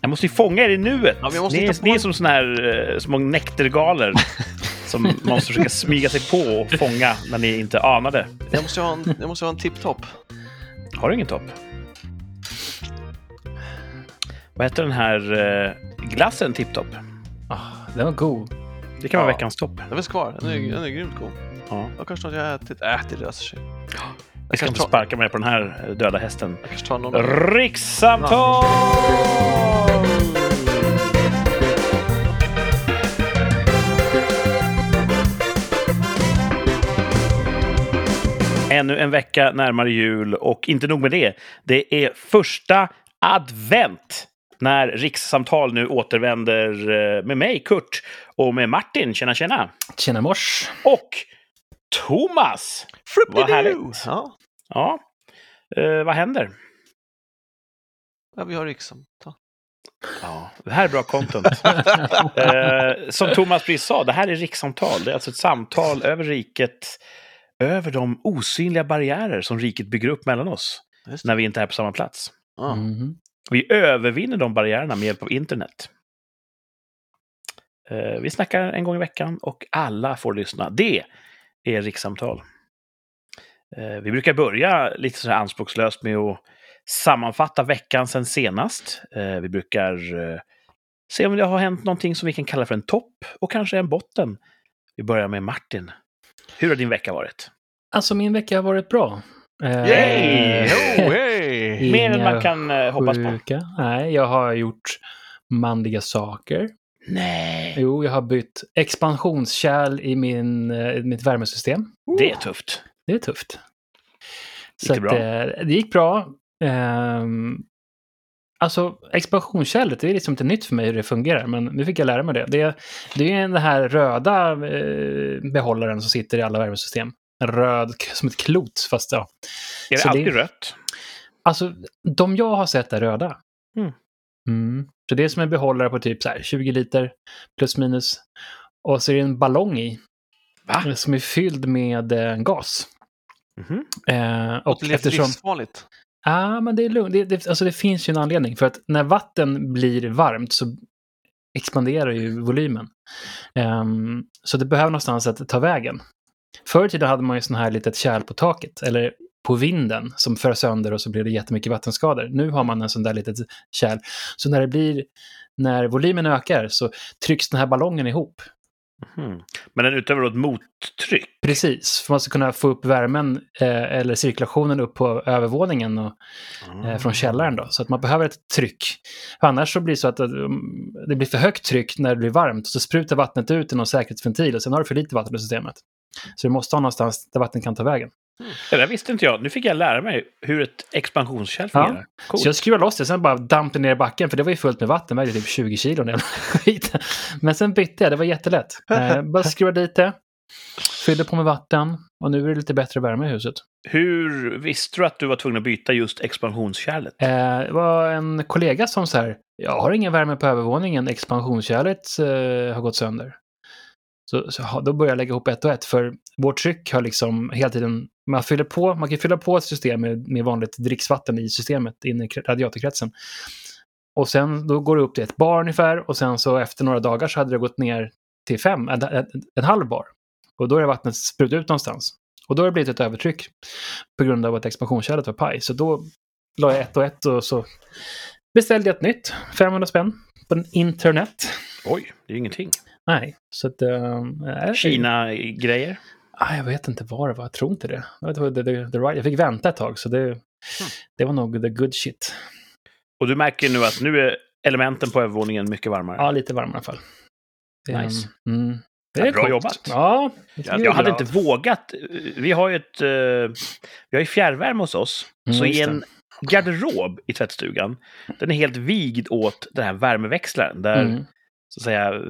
Jag måste ju fånga er i nuet. Ja, vi måste ni, hitta på är, ni är en- som såna här eh, små nektergaler som man måste försöka smyga sig på och fånga när ni inte anade. Jag måste ju ha en, jag måste ha en tipptopp. Har du ingen topp? Vad heter den här eh, glassen Tipptopp? Ah, den var god. Det kan vara Ja. veckans topp. Den finns kvar. Den är, Mm. den är grymt god. Ja. Och kanske något jag har ätit. Äh, det löser sig. Jag ska kanske inte tar- sparka mig på den här eh, döda hästen. Jag kanske tar någon... Rikssamtal! Ännu en vecka närmare jul och inte nog med det. Det är första advent när rikssamtal nu återvänder eh, med mig, Kurt, och med Martin, tjena tjena, Tjena mors. och Thomas. Vad härligt. Ja, Ja, eh, vad händer? ja vi har rikssamtal. Ja, det här är bra content. eh, som Thomas precis sa, det här är rikssamtal. Det är alltså ett samtal över riket, över de osynliga barriärer som riket bygger upp mellan oss Just det. när vi inte är på samma plats. Ja. Mhm. Vi övervinner de barriärerna med hjälp av internet. Eh, vi snackar en gång i veckan och alla får lyssna. Det är rikssamtal. Eh, vi brukar börja lite så här anspråkslöst med att sammanfatta veckan sen senast. Eh, vi brukar eh, se om det har hänt någonting som vi kan kalla för en topp och kanske en botten. Vi börjar med Martin. Hur har din vecka varit? Alltså min vecka har varit bra. Eh, Yay! Oh, hey! Inga Mer än man kan eh, hoppas på. sjuka. Nej, jag har gjort manliga saker. Nej, Jo, jag har bytt expansionskärl i min, eh, mitt värmesystem. det är tufft. Det är tufft. Gick Så det att, bra? eh, det gick bra. Ehm, alltså expansionskärlet, det är liksom inte nytt för mig hur det fungerar, men nu fick jag lära mig det. Det, det är den här röda eh, behållaren som sitter i alla värmesystem. En Röd, k- som ett klot, fast ja. Är det Så det- alltid rött? Alltså, de jag har sett är röda. Mm. Mm. Så det är som en behållare på typ så här 20 liter, plus minus. Och så är det en ballong i, Va? eh, som är fylld med eh, gas. Mhm. Eh, och Det lät eftersom... livsfarligt. Ja, men det är lugnt. Det, det, alltså det finns ju en anledning. För att när vatten blir varmt så expanderar ju volymen. Ehm, så det behöver någonstans att ta vägen. Förr i tiden hade man ju sån här litet kärl på taket, eller på vinden, som förs sönder och så blir det jättemycket vattenskador. Nu har man en sån där litet kärl. Så när det blir, när volymen ökar så trycks den här ballongen ihop. Hmm. Mhm. Men den utövar då ett mottryck? Precis, för man ska kunna få upp värmen eh, eller cirkulationen upp på övervåningen och eh, från källaren. Då. Så att man behöver ett tryck. För annars så blir det så att eh, det blir för högt tryck när det blir varmt. Så sprutar vattnet ut i någon säkerhetsventil och sen har du för lite vatten i systemet. Så du måste ha någonstans där vatten kan ta vägen. Det där visste inte jag. Nu fick jag lära mig hur ett expansionskärl Ja. fungerar. Coolt. Så jag skruvade loss det, sen bara damp det ner i backen, för det var ju fullt med vatten, vägde typ 20 kilo. när jag skiten. Men sen bytte jag, det var jättelätt. Eh, bara skruva dit det, fyllde på med vatten och nu är det lite bättre värme i huset. Hur visste du att du var tvungen att byta just expansionskärlet? Eh, det var en kollega som så här, jag har ingen värme på övervåningen, expansionskärlet eh, har gått sönder. Så, så ha- då började jag lägga ihop ett och ett, för vårt tryck har liksom hela tiden, man fyller på, man kan fylla på ett system med, med vanligt dricksvatten i systemet, in i kre- radiatorkretsen. Och sen då går det upp till ett bar ungefär och sen så efter några dagar så hade det gått ner till fem, en, en, en halv bar. Och då är vattnet sprutat ut någonstans. Och då har det blivit ett övertryck på grund av att expansionskärlet var paj. Så då la jag ett och ett och så beställde jag ett nytt. 500 spänn på internet. Oj, det är ju ingenting. Nej, så att... ehm, nej. Kina-grejer? Ah, jag vet inte vad det var, jag tror inte det. Jag, vet, inte, det, det, det right. jag fick vänta ett tag, så det, det var nog the good shit. Och du märker nu att nu är elementen på övervåningen mycket varmare. Ja, lite varmare i alla fall. Det, Nice. Mm, det Ja, är bra coolt. jobbat. Ja, jag jag hade inte vågat. eh, Vi har ju ett... eh, Vi har ju fjärrvärme hos oss. Mm, så just i en garderob i tvättstugan, den är helt vigd åt den här värmeväxlaren. Där Mm, så att säga, eh,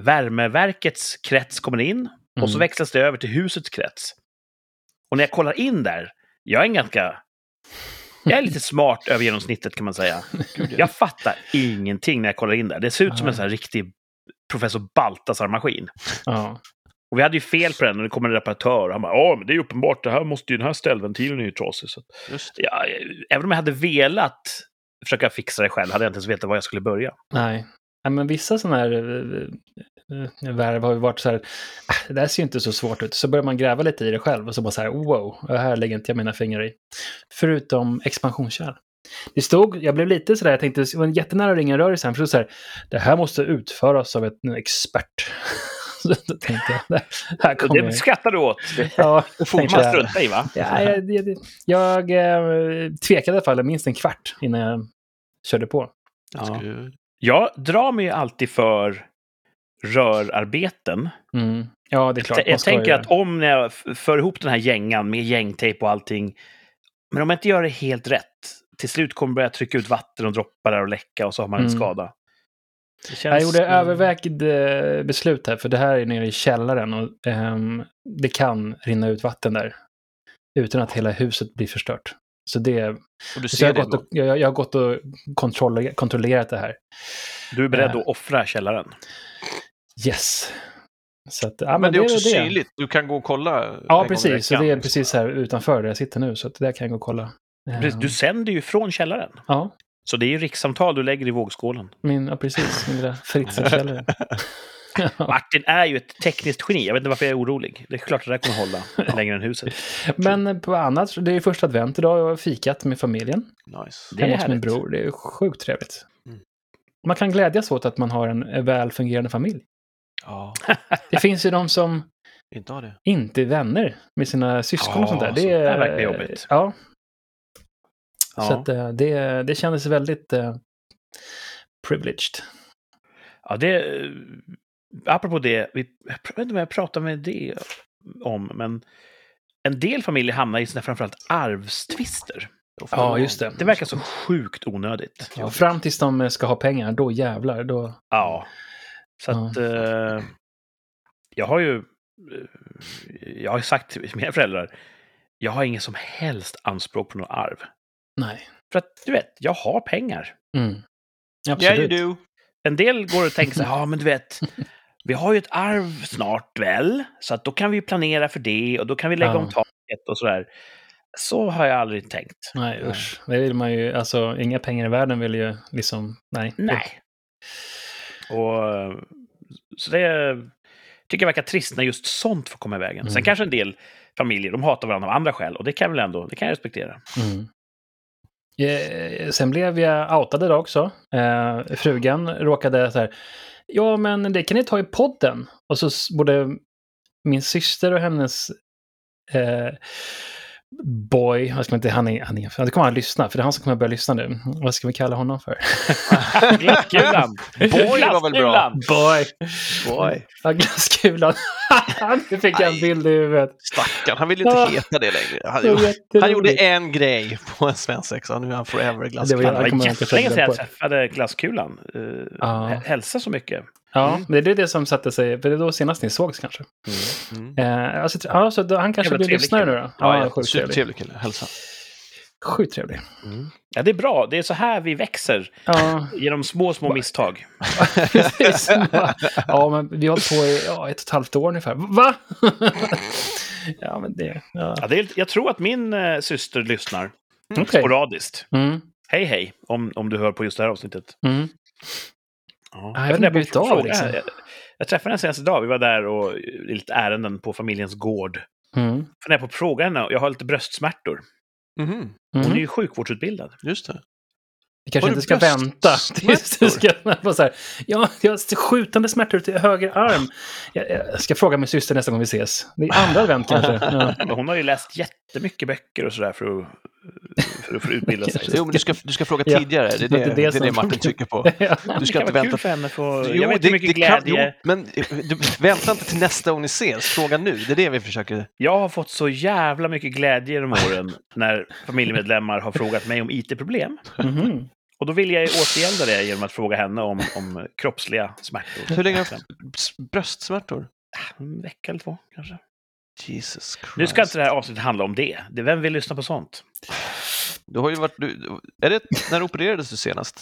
värmeverkets krets kommer in och så mm. växlas det över till husets krets. Och när jag kollar in där, jag är en ganska... Jag är lite smart över genomsnittet kan man säga. Jag fattar ingenting när jag kollar in där. Det ser ut som en sån här riktig professor Baltasar-maskin. mm. ja. Och vi hade ju fel på den och det kom en reparatör. Och han bara, ja men det är ju uppenbart, det här måste ju, den här ställventilen är ju trasig. Så att, Just det. ja, eh, även om jag hade velat försöka fixa det själv. Hade jag inte ens vetat var jag skulle börja. Nej. Ja, men vissa sådana här eh, eh, värv har ju varit så här, "Ah, det där ser ju inte så svårt ut. Så börjar man gräva lite i det själv och så bara så här, wow, det här lägger inte jag mina fingrar i. Förutom expansionskärl. Det stod, jag blev lite sådär, jag tänkte, det var en jättenära att ringa en röris här, för det stod så här, det här måste utföras av ett, en expert. så då tänkte jag, det här Och kommer det skrattar du åt. Det Ja, får tänkte man jag. strunta i, va? Ja, jag, jag, jag eh, tvekade i alla fall minst en kvart innan jag körde på. That's Ja. good. Jag drar mig ju alltid för rörarbeten. Mm. Ja, det är klart. Jag, man jag ska tänker göra att om när jag f- för ihop den här gängan med gängtejp och allting, men om jag inte gör det helt rätt, till slut kommer jag börja trycka ut vatten och droppar där och läcka och så har man en Mm. skada. Det Jag känns- gjorde övervägd eh, beslut här, för det här är nere i källaren och ehm, det kan rinna ut vatten där. Utan att hela huset blir förstört. Så det... Och du Så ser jag, det har gått då? och, jag, jag har gått och kontroller, kontrollerat det här. Du är beredd Eh. att offra källaren. Yes. Så att, ja, Men, det är också väl synligt. Du kan gå och kolla. en gång Ja, i precis. Så veckan. det är precis här utanför där jag sitter nu, så att där kan jag gå och kolla. Precis, Du Ehm, sänder ju från källaren. Ja, Så det är ju rikssamtal du lägger i vågskålen. min, ja, precis. Min lilla Fritzl-källare. Ja. Martin är ju ett tekniskt geni. Jag vet inte varför jag är orolig. Det är klart att det där kommer hålla längre än huset. Men på annat, det är första advent idag. Jag har fikat med familjen. Nice. Det är hemma hos min härligt. bror. Det är sjukt trevligt. Mm. Man kan glädjas åt att man har en eh, väl fungerande familj. Ja, Det finns ju de som inte ha det. inte är vänner med sina syskon Ja, och sånt där. Det sånt där är verkar jobbigt. Ja, Ja. så att, eh, det, det kändes väldigt eh, privileged. Ja, det... eh, Apropå det, vi, jag vet inte vad jag pratade med det om, men en del familjer hamnar i sina framförallt arvstvister. Ja, just det. Det verkar så sjukt onödigt. Ja, fram tills de eh, ska ha pengar, då jävlar. Då, Ja. Så att... Eh, jag har ju... eh, Jag har ju sagt till mina föräldrar, jag har ingen som helst anspråk på någon arv. nej. För att, du vet, jag har pengar. Mm. Yeah you Absolut. do. En del går och tänker så här, ja men du vet, vi har ju ett arv snart väl, så att då kan vi planera för det och då kan vi lägga Ja. om taket och sådär. Så har jag aldrig tänkt. Nej, usch. Det vill man ju, alltså inga pengar i världen vill ju liksom, nej. Nej. Och, eh, så det tycker jag verkar trist när just sånt får komma i vägen. Sen Mm. kanske en del familjer, de hatar varandra av andra skäl och det kan jag väl ändå, det kan jag respektera. Mm. Eh, Sen blev jag outad idag också. Eh, frugan råkade så här, ja men det kan ni ta i podden. Och så s- både min syster och hennes eh, boy, jag ska inte, han, är, han, är, han kommer han lyssna, för det är han som kommer börja lyssna nu. Vad ska vi kalla honom för? Glasskulan! Boy var väl bra. Glasskulan! Boy! Boy. Ja, glasskulan. nu fick jag en Aj. bild i huvudet. Stackarn, han vill inte Ja. heta det längre. Det var Han, han gjorde jätteroligt. en grej på en svensexa, nu är han forever Det var Fan, glasklar. det Jag var kommer inte jättelänge sedan jag på- träffade glasskulan. Uh, Ja. Hälsa så mycket. Ja, Mm. men det är det som satte sig, för det är då senast ni sågs kanske. Mm. Eh, alltså, ja, så då, han kanske Jävla blir trevlig lyssnare nu kille. då? Ja, ja, sjukt trevlig. supertrevlig kille. Hälsa. Sjukt trevlig. Ja, det är bra. Det är så här vi växer, Ja, genom små, små misstag. precis. ja, men vi har hållit på i ja, ett och ett halvt år ungefär. Va? ja, men det... Ja. Ja, det är, jag tror att min eh, syster lyssnar Okej. sporadiskt. Mm, Hej, hej, om, om du hör på just det här avsnittet. mm. Ja. Ah, jag vet inte blivit av, fråga. liksom. Jag, jag träffade henne senast idag. Vi var där och eh, i lite ärenden på familjens gård. Mm. Funderar på att fråga henne. Jag har lite bröstsmärtor. Mhm, Hon är Mm. ju sjukvårdsutbildad. Just det. Vi kanske Har du inte ska vänta tills du ska... Bara så här, ja, jag har skjutande smärtor till höger arm. Jag, jag ska fråga min syster nästa gång vi ses. Det är andra advent kanske. Ja. Men Alltså, Hon har ju läst jättemycket böcker och sådär för att, för, att- för att utbilda sig. Jo, men du ska, du ska fråga Ja. tidigare. Det är Det är det, det, är som- det Martin trycker på. Ja, Du det ska kan inte vara kul vänta. för henne. För, Jo, jag vet hur mycket glädje... jo, men du, vänta inte till nästa gång ni ses. Fråga nu. Det är det vi försöker. Jag har fått så jävla mycket glädje genom åren när familjemedlemmar har frågat mig om IT-problem. Mhm. Och då vill jag ju återgälda det genom att fråga henne om, om kroppsliga smärtor. Hur länge har du haft s- bröstsmärtor? En vecka eller två, kanske. Jesus Christ. Nu ska inte det här avsnittet handla om det. det vem vill lyssna på sånt? Du har ju varit... Du, är det, när opererades du senast?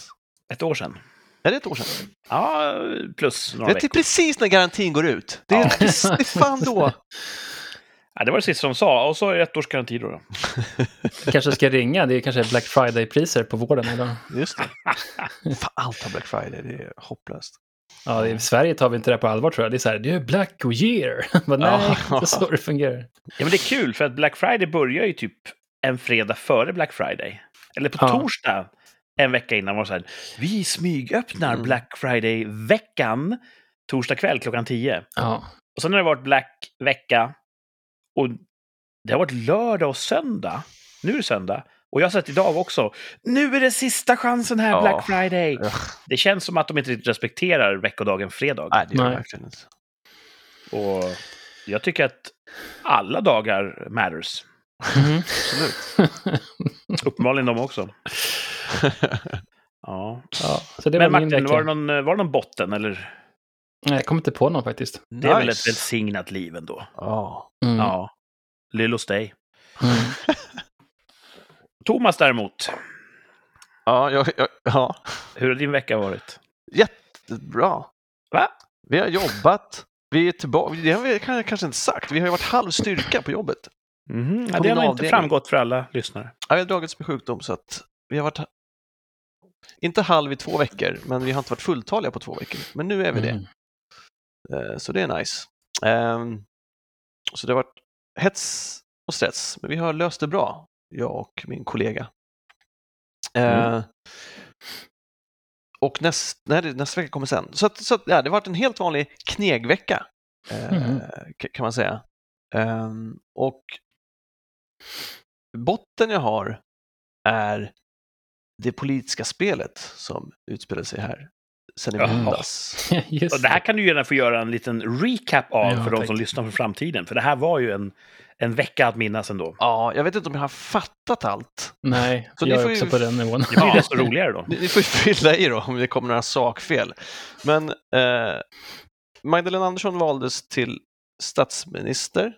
Ett år sedan. Är det ett år sedan? Ja, plus några Det är veckor. precis när garantin går ut. Det är, Ja. precis, det är fan då. Ja, det var det sista de sa. Och så är det ett års garanti då. då. Kanske ska ringa, det är kanske Black Friday-priser på vården idag. Just det. Fan, allt har Black Friday, det är hopplöst. Ja, i Sverige tar vi inte det här på allvar tror jag. Det är så här, det är Black Year. Men nej, det är så det fungerar. Ja, men det är kul för att Black Friday börjar ju typ en fredag före Black Friday. Eller på Ja. torsdag en vecka innan var det så här. Vi smygöppnar Mm. Black Friday-veckan torsdag kväll klockan 10. Ja, Och sen har det varit Black vecka. Och det har varit lördag och söndag. Nu är det söndag. Och jag har sett idag också. Nu är det sista chansen här, Ja. Black Friday. Ugh. Det känns som att de inte riktigt respekterar veckodagen fredag. Nej, det gör Nej. det verkligen inte. Och jag tycker att alla dagar matters. Mhm. Absolut. Uppenbarligen de också. Ja. ja. Så det Men var min Martin, vecka. var det, någon, var det någon botten? Eller? Nej, jag kom inte på någon faktiskt. Det är väl ett välsignat liv ändå? Ja. Mm. Ja. Lill hos dig. Mm. Thomas däremot, Ja, jag, jag, ja, hur har din vecka varit? bra. Va? Vi har jobbat. Vi är tillbaka. Det har vi kan- kanske inte sagt. Vi har ju varit halv styrka på jobbet. Mhm, Ja, På det har min nog inte avdelning. framgått för alla lyssnare. Ja, vi har dragits med sjukdom så att vi har varit inte halv i två veckor, men vi har inte varit fulltaliga på två veckor. Men nu är vi det. Mm. Eh, Så det är nice. Ehm, Så det har varit hets och stress, men vi har löst det bra, jag och min kollega. Eh, Och näst, nej, det- nästa vecka kommer sen. Så, att, så att, ja, det har varit en helt vanlig knegvecka, eh, Mhm. k- kan man säga. Ehm, Och botten jag har är det politiska spelet som utspelade sig här sen i Jaha. vintras. Just Och det här kan du gärna få göra en liten recap av Ja, för de tack. som lyssnar för framtiden. För det här var ju en, en vecka att minnas ändå. Ja, jag vet inte om jag har fattat allt. Nej, Så jag ni är får också ju- på den nivån. Det blir Ja. desto roligare då. Ni, ni får ju fylla i då om det kommer några sakfel. Men eh, Magdalena Andersson valdes till statsminister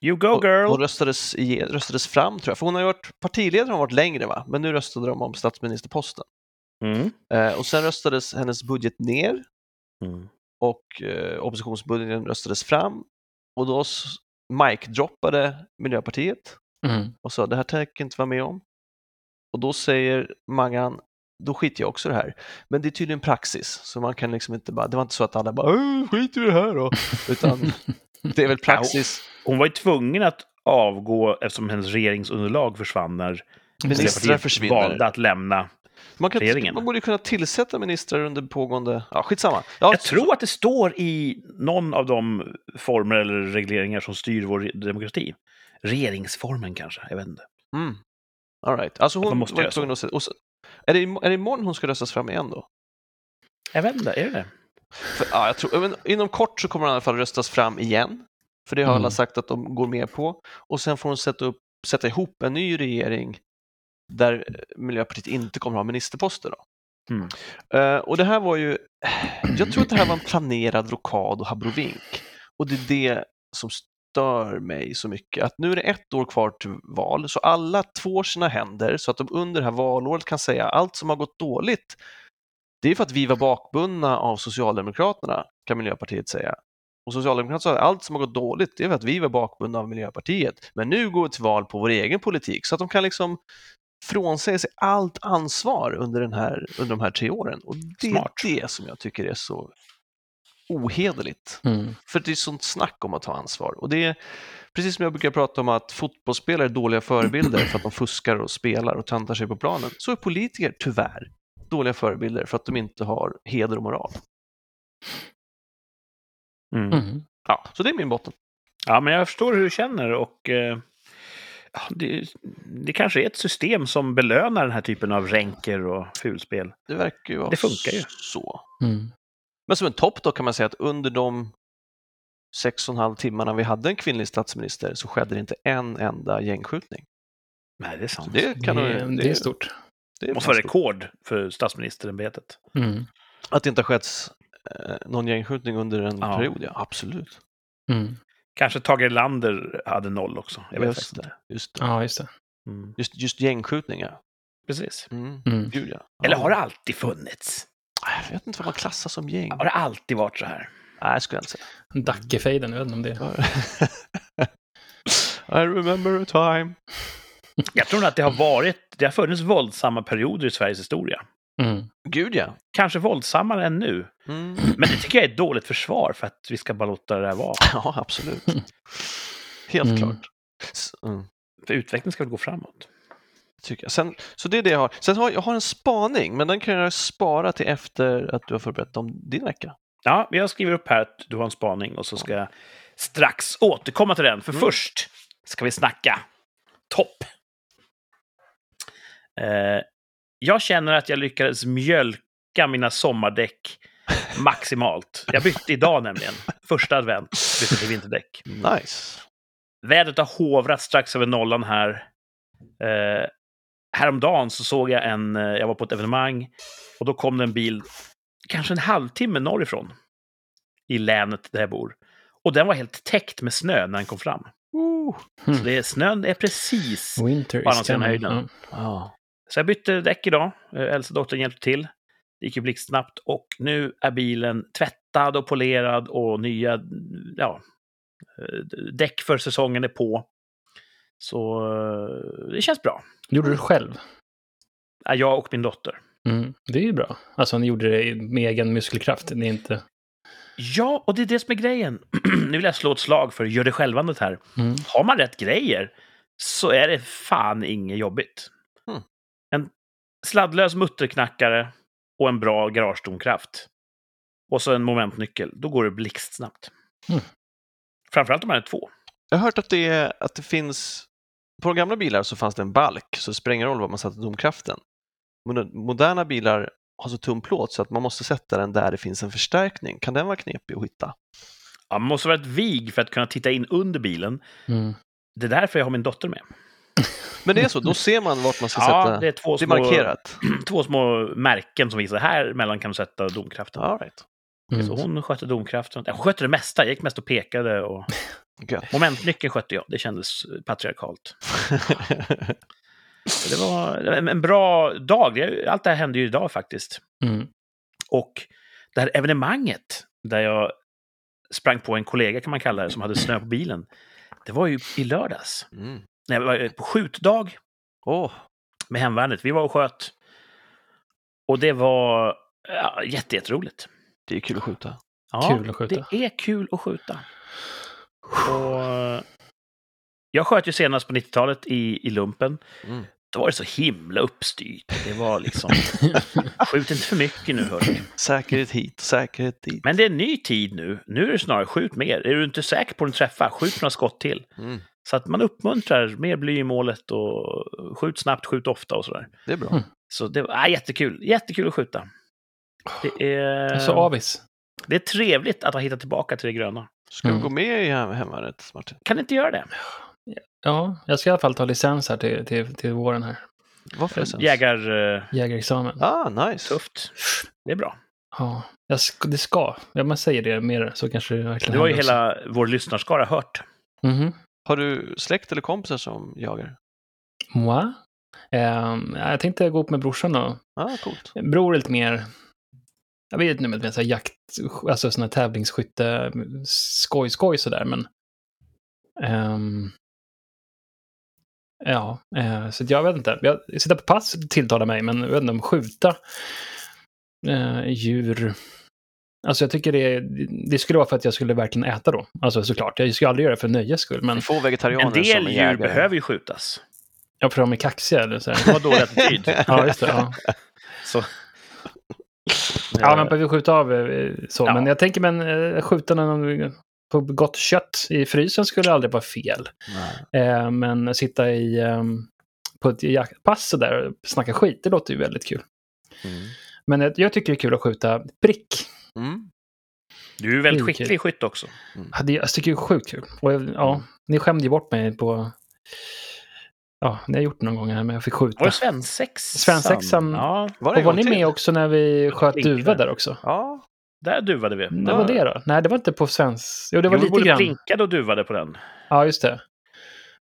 You go och, och girl! röstades, i, röstades fram, tror jag. För hon har ju varit partiledare har varit längre, va? men nu röstade de om statsministerposten. Mm. Eh, och sen röstades hennes budget ner Mm. och eh, oppositionsbudgeten röstades fram. Och då s- mic-droppade Miljöpartiet Mm. och sa det här tänker jag inte vara med om. Och då säger Mangan, då skiter jag också i det här. Men det är tydligen praxis, så man kan liksom inte bara, det var inte så att alla bara "Äh, skit i det här då, utan det är väl praxis. Hon var ju tvungen att avgå eftersom hennes regeringsunderlag försvann när Ministrar Miljöpartiet försvinner. valde att lämna. Man, kan, regeringen. man borde ju kunna tillsätta ministrar under pågående, ja skitsamma. Ja, Jag tror att det står i någon av de former eller regleringar som styr vår demokrati. Regeringsformen kanske, jag vet inte. Mm. All right. alltså man hon måste var ju göra så. tvungen att se- och så, är, det, im- är det imorgon hon ska röstas fram igen då? Jag vet inte, är det det? För, ja, jag tror, men inom kort så kommer han i alla fall röstas fram igen. För det har alla Mm. sagt att de går med på. Och sen får hon sätta, upp, sätta ihop en ny regering där eh, Miljöpartiet inte kommer ha ministerposter. Då. Mm. Eh, och det här var ju, jag tror att det här var en planerad rockad och abrovink. Och det är det som stör mig så mycket. Att nu är det ett år kvar till val, så alla tvår sina händer så att de under det här valåret kan säga allt som har gått dåligt det är för att vi var bakbundna av Socialdemokraterna, kan Miljöpartiet säga. Och Socialdemokraterna sa att allt som har gått dåligt, det är för att vi var bakbundna av Miljöpartiet. Men nu går vi till val på vår egen politik, så att de kan liksom frånsäga sig allt ansvar under, den här, under de här tre åren. Och det Smart. är det som jag tycker är så ohederligt. Mm. För det är sånt snack om att ta ansvar. Och det är precis som jag brukar prata om att fotbollsspelare är dåliga förebilder för att de fuskar och spelar och töntar sig på planen. Så är politiker tyvärr dåliga förebilder för att de inte har heder och moral. Mm. Mm. Ja, så det är min botten. Ja, men jag förstår hur du känner och eh, ja, det, det kanske är ett system som belönar den här typen av ränker och fulspel. Det verkar ju vara Det funkar ju. så. Mm. Men som en topp då kan man säga att under de sex och en halv timmarna vi hade en kvinnlig statsminister så skedde det inte en enda gängskjutning. Nej, det är sant. Så det kan det, nog- det är stort. det är måste vara fantastiskt. rekord för statsministerämbetet. Mm. Att det inte har skett eh, någon gängskjutning under en Ja. period, ja absolut. Mm. Kanske Tage Erlander hade noll också. Jag vet Just faktiskt inte. Just det. Ja, just det. Mm. Just, just gängskjutningar. Precis. Mm. Mm. Gud, ja. Eller har det det... alltid funnits? Jag vet inte vad man klassar som gäng. Har det alltid varit så här? Nej, skulle jag inte säga. Dackefejden, jag vet inte om det är. I remember a time. Jag tror nog att det har varit, det har funnits våldsamma perioder i Sveriges historia. Mm. Gud ja. Kanske våldsammare än nu. Mm. Men det tycker jag är ett dåligt försvar för att vi ska bara låta det här vara. Ja, absolut. Helt Mm. klart. S- Mm. För utvecklingen ska väl gå framåt. Tycker jag. Sen, så det är det jag har. Sen har jag har en spaning, men den kan jag spara till efter att du har förberett om din vecka. Ja, men jag skriver upp här att du har en spaning och så ska jag strax återkomma till den. För Mm. först ska vi snacka topp. Eh, jag känner att jag lyckades mjölka mina sommardäck maximalt. Jag bytte idag nämligen. Första advent bytte till vinterdäck. Mm. Nice. Vädret har hovrat strax över nollan här. Eh, häromdagen så såg jag en, eh, jag var på ett evenemang och då kom det en bil kanske en halvtimme norrifrån i länet där jag bor. Och den var helt täckt med snö när den kom fram. Ooh. Så det är, snön är precis. Winter På andra is sidan coming. höjden. Ja. Ja. Så jag bytte däck idag. Eh, Äldsta dottern hjälpte till. Det gick ju blixtsnabbt och nu är bilen tvättad och polerad och nya ja, eh, däck för säsongen är på. Så eh, det känns bra. Gjorde du det själv? Ja, Jag och min dotter. Mm. Det är ju bra. Alltså ni gjorde det med egen muskelkraft. Ni är inte... Ja, och det är det som är grejen. nu vill jag slå ett slag för gör det självandet här. Mm. Har man rätt grejer så är det fan inget jobbigt. Mm. En sladdlös mutterknackare och en bra garagedomkraft. Och så en momentnyckel. Då går det blixtsnabbt. Hmm. Mm. Framförallt om man är två. Jag har hört att det, är- att det finns... På de gamla bilar så fanns det en balk, så det spelar ingen roll vad man satte domkraften. Men moderna bilar har så tunn plåt så att man måste sätta den där det finns en förstärkning. Kan den vara knepig att hitta? Ja, man måste vara ett vig för att kunna titta in under bilen. Mm. Det är därför jag har min dotter med. Men det är så, då ser man vart man ska Ja, sätta... det är två det är små, markerat. två små märken som visar här mellan kan du sätta domkraften. All right. Mm. Så hon skötte domkraften. Jag skötte det mesta. Jag gick mest och pekade. Och... Gött. Momentnyckeln skötte jag. Det kändes eh, patriarkalt. Så Det var en- en bra dag. Det- Allt det här hände ju idag faktiskt. Mm. Och det här evenemanget där jag sprang på en kollega kan man kalla det, som hade snö på bilen. Det var ju i lördags. Mm. När jag var eh, på skjutdag Åh, med hemvärnet. Vi var och sköt. Och det var ja, jätte- jätteroligt. det är kul att skjuta. Ja, Kul att skjuta. Det är kul att skjuta. Och jag sköt ju senast på 90-talet i, i lumpen. Mm. Då var det så himla uppstyrt. Det var liksom, skjut inte för mycket nu hörni. Säkerhet hit, säkerhet dit. Men det är en ny tid nu. Nu är det snarare skjut mer. Är du inte säker på att du träffar, skjut några skott till. Mm. Så att man uppmuntrar mer bly i målet och skjut snabbt, skjut ofta och sådär. Det är bra. Mm. Så det var ah, jättekul. Jättekul att skjuta. Det är, Jag är så avis. det är trevligt att ha hittat tillbaka till det gröna. Ska Mm. du gå med i hem- hemvärnet, Martin? Kan inte göra det. Ja, jag ska i alla fall ta licens här till, till, till våren här. Varför licens? Jägar... eh, Jägarexamen. Ah, nice. Tufft. Det är bra. Ja, jag sk- det ska. Ja, man säger det mer så kanske det verkligen Det har ju händer också. hela vår lyssnarskara hört. Mhm. Har du släkt eller kompisar som jagar? Moi? Ehm, ja, jag tänkte gå upp med brorsan då. Ah, coolt. Bror är lite mer... Jag vet inte om det är så här jakt, alltså sån här tävlingsskytte, skoj, skoj sådär, men... ehm, ja, eh, så att jag vet inte. Jag, sitta på pass tilltalar mig, men jag vet inte om skjuta eh, djur... Alltså jag tycker det, det skulle vara för att jag skulle verkligen äta då. Alltså såklart, jag skulle aldrig göra det för nöjes skull, men Men få En vegetarianer del som är jägare. djur behöver ju skjutas. jag tror de är kaxiga eller så här. De har dålig attityd. Ja, just det. Ja. Så. Ja, man behöver skjuta av eh, så. Ja. Men jag tänker, men eh, skjuta någon på gott kött i frysen skulle aldrig vara fel. Nej. Eh, Men sitta i, eh, på ett jaktpass och där och snacka skit, det låter ju väldigt kul. Mm. Men jag- jag tycker det är kul att skjuta prick. Mm. Du är ju väldigt Det är kul. skicklig i skytt också. Ja, det- Jag tycker det är sjukt kul. Och jag- ja, ni skämde ju bort mig på... Ja, ni har gjort det någon gång här, men jag fick skjuta. Var det svensexan? Svensexan. Ja, Var det Och en var gång ni till? med också när vi sköt Blinkade. duva där också? Ja, där duvade vi. Det var det då? Nej, det var inte på svensk. Jo, det var jo, vi lite både grann. blinkade och duvade på den. Ja, just det.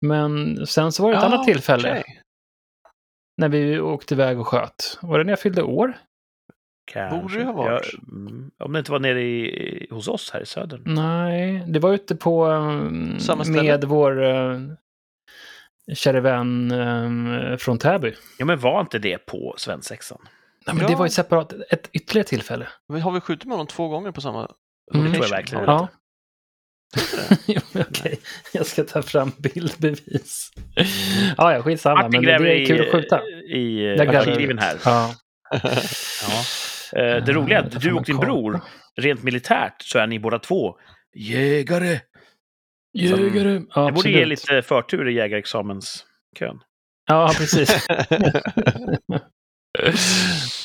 Men sen så var det ett Ah, Ja, annat tillfälle okej. när vi åkte iväg och sköt. Var det när jag fyllde år? Kanske. Borde det ha varit. Ja, mm, om det inte var nere i, Mm. hos oss här i södern. Nej, det var ute på... Um, Samma ställe? med vår... eh, käre vän eh, från Täby. Ja, men var inte det på svensexan? Nej, men Ja. Det var ett separat, ett ytterligare tillfälle. Vi har vi skjutit med honom två gånger på samma Mm. Det tror jag location? verkligen. Har vi Ja. Jo, men Okej, jag ska ta fram bildbevis. Ja, ja, skitsamma, Martin men det, gräver det är kul att skjuta. i, i eh, Jag gräver. arkiven här. Ja. Ja. Eh, Det roliga är Eh, att du och din jag får en bror, rent militärt, så är ni båda två jägare. Jägare! Ja, Jag borde ge absolut. lite förtur i jägarexamenskön. Ja, precis. inte.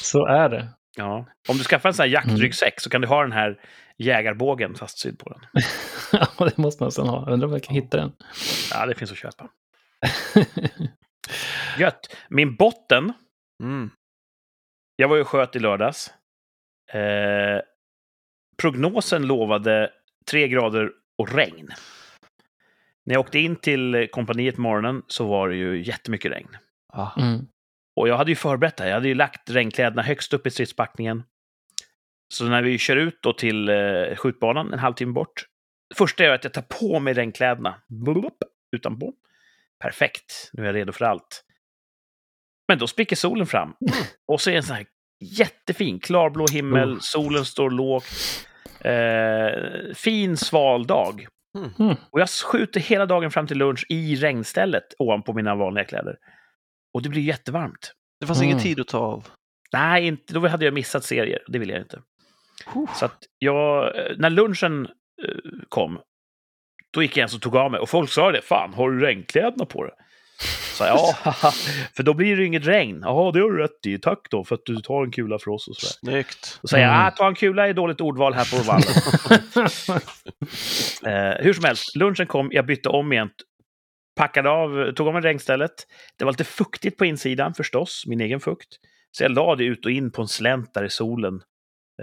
Så är det. Ja. Om du skaffar en sån här Mm. jaktryggsäck så kan du ha den här jägarbågen fastsydd på den. Ja, det måste man sen ha. Undrar om jag kan hitta den. Ja, det finns att köpa. Gött! Min botten, mm. jag var ju och sköt i lördags. Eh, prognosen lovade tre grader och regn. När jag åkte in till kompaniet på morgonen så var det ju jättemycket regn. Ja. Mm. Och jag hade ju förberett det här. Jag hade ju lagt regnkläderna högst upp i stridspackningen. Så när vi kör ut då till eh, skjutbanan en halvtimme bort. Det första jag gör är att jag tar på mig regnkläderna. Blup, utanpå. Perfekt, nu är jag redo för allt. Men då spricker solen fram. Och så är det en sån här jättefin klarblå himmel, Oh. solen står lågt. Eh, fin sval dag. Mm. Och jag skjuter hela dagen fram till lunch i regnstället ovanpå mina vanliga kläder. Och det blir jättevarmt. Det fanns ingen Mm. tid att ta av. Nej, inte, då hade jag missat serier. Det ville jag inte. Huh. Så att jag, eh, när lunchen eh, kom, då gick jag ens och tog av mig. Och folk sa det, fan, har du regnkläderna på dig? Så jag, ja, haha, för då blir det ju inget regn. Jaha, det har du rätt i. Tack då för att du tar en kula för oss och sådär. Snyggt. Då säger Mm. jag, ah, ta en kula är dåligt ordval här på vallen. Eh, hur som helst, lunchen kom, jag bytte om igen. Packade av, tog av mig regnstället. Det var lite fuktigt på insidan förstås, min egen fukt. Så jag la det ut och in på en slänt där i solen.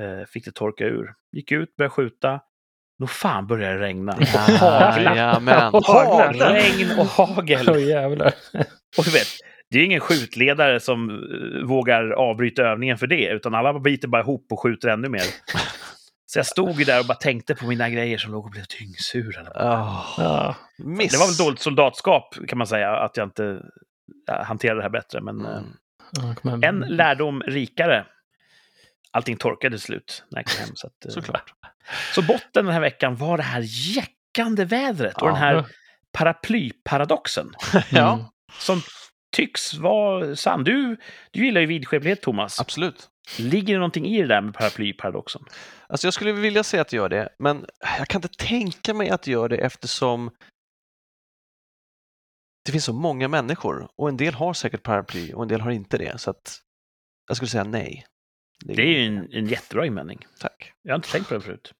Eh, fick det torka ur. Gick ut, började skjuta. Nå fan började det regna. Och hagla. Jajamän. Och hagla. Hagla. Regn och hagel. Åh, jävlar. Och du vet, det är ingen skjutledare som eh, vågar avbryta övningen för det, utan alla biter bara ihop och skjuter ännu mer. Så jag stod ju där och bara tänkte på mina grejer som låg och blev dyngsur. eller Ah, Ja. miss. Det var väl dåligt soldatskap kan man säga, att jag inte ja, hanterade det här bättre. Men eh, Mm. Ja, kom igen. en lärdom rikare. Allting torkade till slut när jag kom hem. Så, att, eh, Såklart. så botten den här veckan var det här jäckande vädret och Ja. den här paraplyparadoxen Mm. Ja, som tycks vara sann. Du, du gillar ju vidskeplighet, Thomas. absolut. Ligger det någonting i det där med paraplyparadoxen? Alltså jag skulle vilja säga att det gör det, men jag kan inte tänka mig att det gör det eftersom det finns så många människor och en del har säkert paraply och en del har inte det. Så att jag skulle säga nej. Det är ju en, en jättebra invändning. Tack. Jag har inte tänkt på det förut.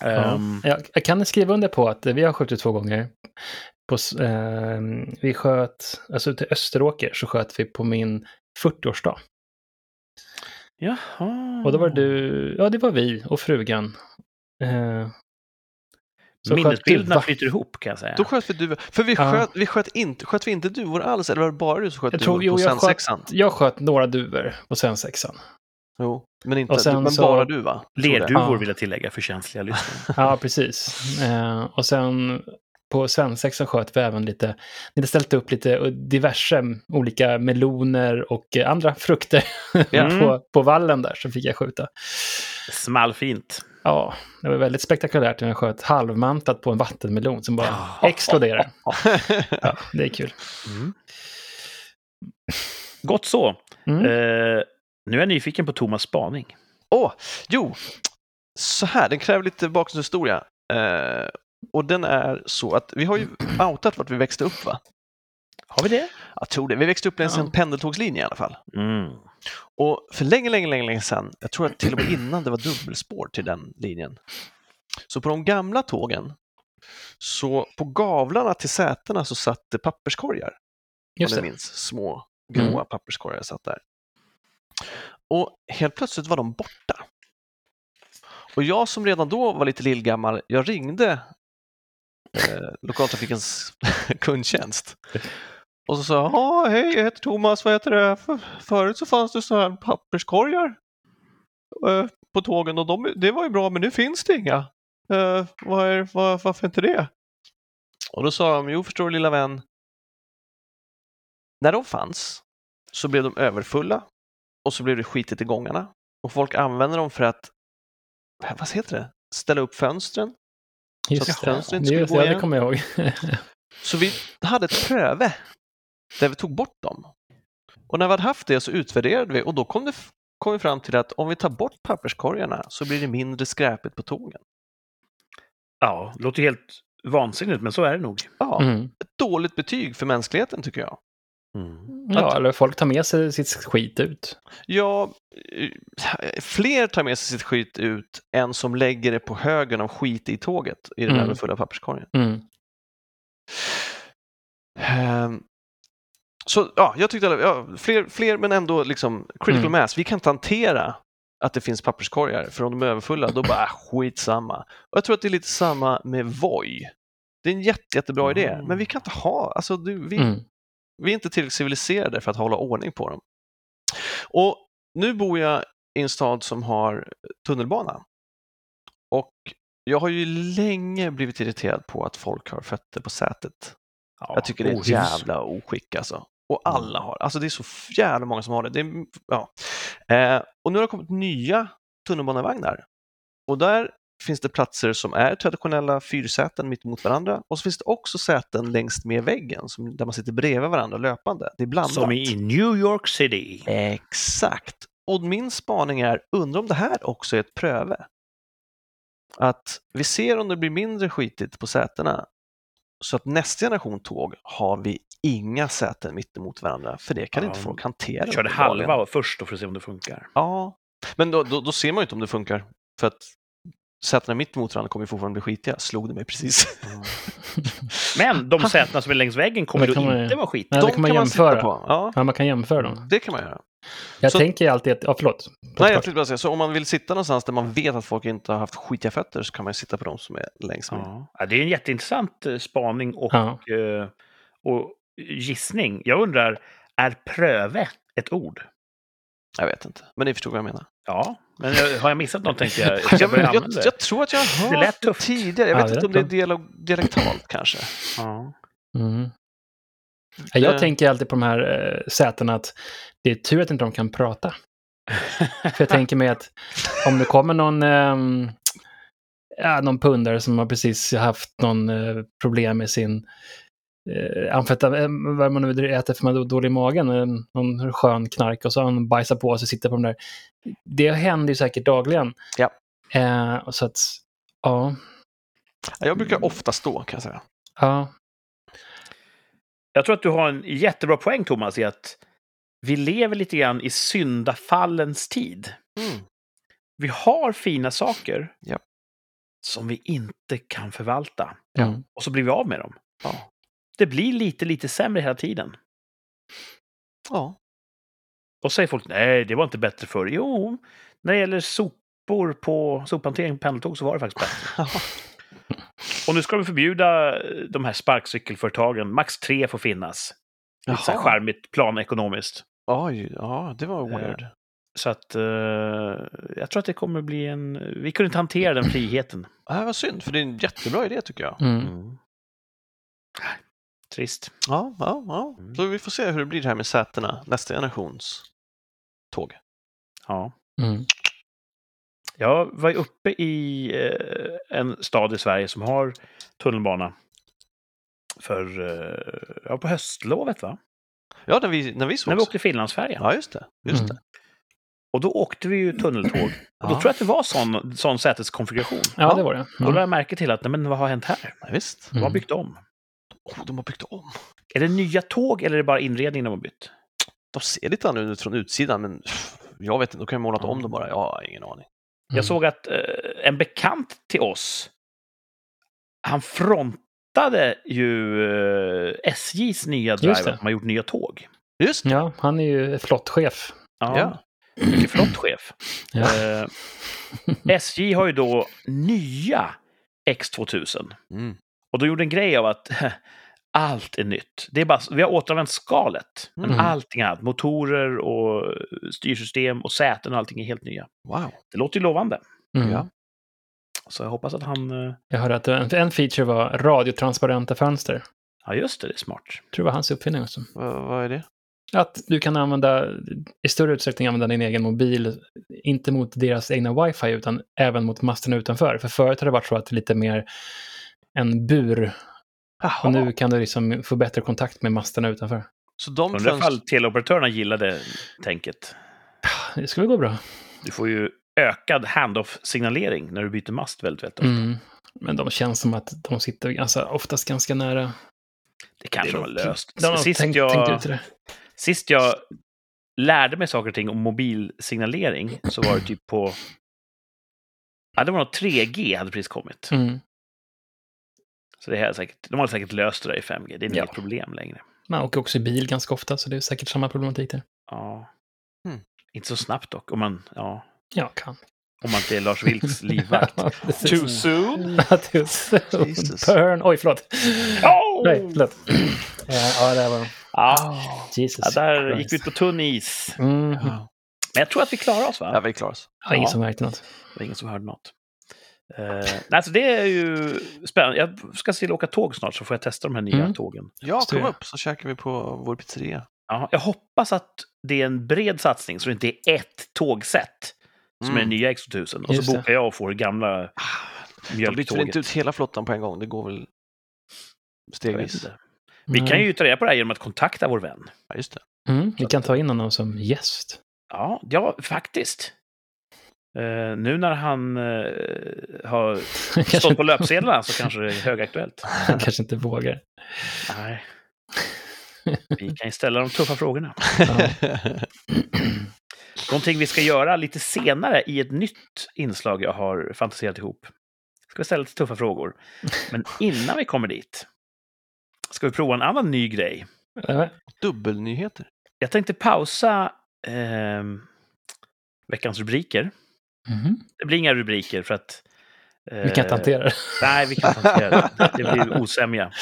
Ja. Ja. Ehm, Jag, jag kan skriva under på att vi har skjutit två gånger. På, s- ehm, vi sköt, alltså till Österåker så sköt vi på min 40-årsdag. Jaha. Och då var det du, Mm. ja det var vi och frugan. Eh, så sköt Minnesbilderna du va- flyter ihop kan jag säga. Då sköt vi duvor. För vi Ja. sköt, vi sköt, inte, sköt vi inte duvor alls, eller var det bara du som sköt Jag duvor tror, jo, på jag sköt, sensexan? jag sköt några duvor på sensexan. Jo, men, inte, Och sen men så- bara du va? Tror det. Lerduvor Ja. vill jag tillägga för känsliga lyssnare. Ja, precis. Eh, och sen på svensexan sköt vi även lite, ni hade ställt upp lite eh, diverse olika meloner och eh, andra frukter Ja. på, på vallen där som fick jag skjuta. Smallfint. Ja, det var väldigt spektakulärt när jag sköt halvmantat på en vattenmelon som bara exploderade. Ja, det är kul. Mm. Gott så. Mm. Eh, nu är jag nyfiken på Thomas spaning. Åh, jo! Så här, den kräver lite bakgrundshistoria. Eh, och den är så att vi har ju outat vart vi växte upp va? Har vi det? Jag tror det. Vi växte upp längs Ja. en pendeltågslinje i alla fall. Mm. Och för länge, länge, länge, länge sedan, jag tror att till och med innan det var dubbelspår till den linjen. Så på de gamla tågen, så på gavlarna till sätena så satt det papperskorgar. Just om ni det. minns. Små gråa Mm. papperskorgar satt där. Och helt plötsligt var de borta. Och jag som redan då var lite lillgammal, jag ringde eh, lokaltrafikens kundtjänst. Och så sa jag, "Ja, hej, jag heter Thomas, vad heter det? För, förut så fanns det sådana här papperskorgar eh, på tågen och de, det var ju bra, men nu finns det inga. Eh, vad är, vad, varför inte det? Och då sa de, jo förstår du lilla vän, när de fanns så blev de överfulla och så blev det skitigt i gångarna och folk använde dem för att, eh, vad heter det, ställa upp fönstren. Så att Just det, fönstren inte skulle just gå det, det igen. kommer jag ihåg. Så vi hade ett pröve där vi tog bort dem. Och när vi hade haft det så utvärderade vi och då kom, det, f- kom vi fram till att om vi tar bort papperskorgarna så blir det mindre skräpigt på tågen. Ja, det låter helt vansinnigt, men så är det nog. Ja, Mm. ett dåligt betyg för mänskligheten tycker jag. Ja, eller folk tar med sig sitt skit ut. Ja, eh, fler tar med sig sitt skit ut än som lägger det på högen av skit i tåget i den Mm. överfulla papperskorgen. Mm. Ehm, Så ja, jag tyckte alla- ja, fler, fler men ändå liksom critical mass. Vi kan inte hantera att det finns papperskorgar för om de är överfulla då bara ah, skitsamma. Och jag tror att det är lite samma med Voi. Det är en jätte, jättebra idé, Mm. men vi kan inte ha, alltså du, vi, Mm. Vi är inte tillräckligt civiliserade för att hålla ordning på dem. Och nu bor jag i en stad som har tunnelbana. Och jag har ju länge blivit irriterad på att folk har fötter på sätet. Ja, Mm. jag tycker det är ett ohyfs. jävla oskick alltså. Och alla har, alltså det är så jävla många som har det. det är, ja. eh, och nu har det kommit nya tunnelbanevagnar. Och där finns det platser som är traditionella fyrsäten mitt emot varandra och så finns det också säten längst med väggen som, där man sitter bredvid varandra löpande. Det är blandat. Som i New York City. Exakt. Och min spaning är, undrar om det här också är ett pröve? Att vi ser om det blir mindre skitigt på sätena så att nästa generation tåg har vi inga säten mitt emot varandra för det kan Ja, inte folk hantera. Jag körde uppenbarligen. halva först då för att se om det funkar. Ja, men då, då, då ser man ju inte om det funkar för att sätena mitt emot varandra kommer ju fortfarande bli skitiga. Slog det mig precis. Men de sätena som är längs väggen kommer Där då Ah. kan man- inte vara skit. Nej, det kan man sitta jämföra. på. Ja, Ja, man kan jämföra dem. det kan man göra. Jag Så- tänker ju alltid att, ja förlåt. Nej, jag tänkte bara säga, så om man vill sitta någonstans där man vet att folk inte har haft skitiga fötter så kan man ju sitta på de som är längst med. Ja. Ja, det är en jätteintressant eh, spaning och, Ja. eh, och gissning. Jag undrar, är pröve ett ord? Jag vet inte, men ni förstod vad jag menar. Ja, men jag, har jag missat något tänkte jag. Ska jag Jag, börja jag, använda jag, det? tror att jag har Det hört lät det tufft. tidigare. Jag Ja, vet det inte om det är lät dialog, dialektalt kanske. Ja. Mm. Ja, Jag Eh. tänker alltid på de här eh, sätena att det är tur att inte de kan prata. För jag tänker mig att om det kommer någon, ehm, ja, någon pundare som har precis haft någon eh, problem med sin eh, amfetamin, vad man nu äter för man har dålig i magen, eh, någon skön knark och så har han bajsat på sig och sitter på de där. Det händer ju säkert dagligen. Ja. Eh, och så att, ja, Ja, Jag brukar ofta stå kan jag säga. ja, Jag tror att du har en jättebra poäng, Thomas, i att vi lever lite grann i syndafallens tid. Mm. Vi har fina saker Ja. som vi inte kan förvalta. ja. Och så blir vi av med dem. Ja. Det blir lite, lite sämre hela tiden. Ja. Och säger folk, nej, det var inte bättre förr. Jo, när det gäller sopor på sophantering på pendeltåg så var det faktiskt bättre. Och nu ska vi förbjuda eh, de här sparkcykelföretagen. Max tre får finnas. Lite så här Eh. Jaha. charmigt planekonomiskt. Oj, ja, det var weird. Så att eh, jag tror att det kommer bli en... Vi kunde inte hantera den friheten. Ja, vad synd, för det är en jättebra idé tycker jag. Mm. Trist. Ja, ja, ja. Mm. Så vi får se hur det blir det här med sätena, nästa generations tåg. Ja. Mm. Jag var ju uppe i eh, en stad i Sverige som har tunnelbana. För... Eh, ja, på höstlovet, va? Ja, när vi, när vi När vi sågs. åkte Finlandsfärjan. Ja, just det. Just Mm. det. Och då åkte vi ju tunneltåg. Och då tror Ja. jag att det var sån, sån säteskonfiguration. Ja, det var det. Och då lade Ja. jag märke till att, nej men vad har hänt här? Ja, visst. De har Mm. byggt om. Oh, de har byggt om. Är det nya tåg eller är det bara inredningen de har bytt? De ser lite annorlunda ut från utsidan, men pff, jag vet inte, de kan ju målat om dem bara. Jag har ingen aning. mm. Jag såg att eh, en bekant till oss, han frontade ju eh, SJs nya driver, Just som det. har gjort nya tåg. Just det. Ja, han är ju flottchef. Ja. Ja. Mycket flott chef. Ja. Eh, SJ har ju då nya X2000. Mm. Och då gjorde en grej av att allt är nytt. Det är bara, vi har återanvänt skalet, men Mm. allting annat, motorer och eh, styrsystem och säten och allting är helt nya. Wow. Det låter ju lovande. Mm. Ja. Så jag hoppas att han... eh, Jag hörde att en, en feature var radiotransparenta fönster. Ja, just det, det är smart. Jag tror det var hans uppfinning också. Vad, vad är det? Att du kan använda, i större utsträckning använda din egen mobil, inte mot deras egna wifi, utan även mot masterna utanför. För förut har det varit så att det är lite mer en bur. Jaha. Och nu kan du liksom få bättre kontakt med masterna utanför. Så de Undrar fönst- ifall teleoperatörerna gillade tänket. Det skulle gå bra. Du får ju ökad handoff-signalering när du byter mast väldigt, väldigt ofta. Mm. Men de känns som att de sitter ganska, oftast ganska nära. Det kanske Det de är har nog- löst. De har sist, tänkt, jag, tänkt ut det. sist jag lärde mig saker och ting om mobilsignalering så var det typ på... Ja, det var nog 3G hade precis kommit. Mm. Så det här är säkert, de har säkert löst det där i 5G. Det är Ja. inget problem längre. Man åker också i bil ganska ofta, så det är säkert samma problematik där. Ja. Mm. Hmm. Inte så snabbt dock, om man, ja, Ja, kan. om man inte är Lars Vilks livvakt. Ja, precis. Too soon? Too soon. Jesus. Burn. Oj, förlåt. Oh! Nej, förlåt. Ah, Ja, ja, det där var Ja, Jesus. ja, där gick Christ. vi ut på tunn is. Mm. Ja, Men jag tror att vi klarar oss, va? Ja, vi klarar oss. Ja, ingen Ja. som märkte något. Det var ingen som hörde något. Eh, nej, alltså det är ju spännande. Jag ska se till att åka tåg snart så får jag testa de här nya Mm. tågen. Ja, Just kom det. upp så käkar vi på vår pizzeria. Ja, jag hoppas att det är en bred satsning så det inte är ett tågsätt som Mm. är det nya X2000. Och Just så det. bokar jag och får det gamla Ah, De byter väl mjölktåget. inte ut hela flottan på en gång? Det går väl Jag vet stegvis? inte. Vi kan ju ta reda på det här genom att kontakta vår vän. Ja, just det. Mm, vi kan ta in honom som gäst. Ja, ja faktiskt. Eh, nu när han eh, har kanske, stått på löpsedlarna så kanske det är högaktuellt. han kanske inte vågar. Nej. Vi kan ju ställa de tuffa frågorna. Ja. Någonting vi ska göra lite senare i ett nytt inslag jag har fantiserat ihop. Ska vi ställa lite tuffa frågor. Men innan vi kommer dit ska vi prova en annan ny grej. Ja, Dubbelnyheter. Jag tänkte pausa ehm, veckans rubriker. mhm. Det blir inga rubriker för att... eh, Vi kan inte hantera det. Nej, vi kan inte hantera det. Det blir osämja.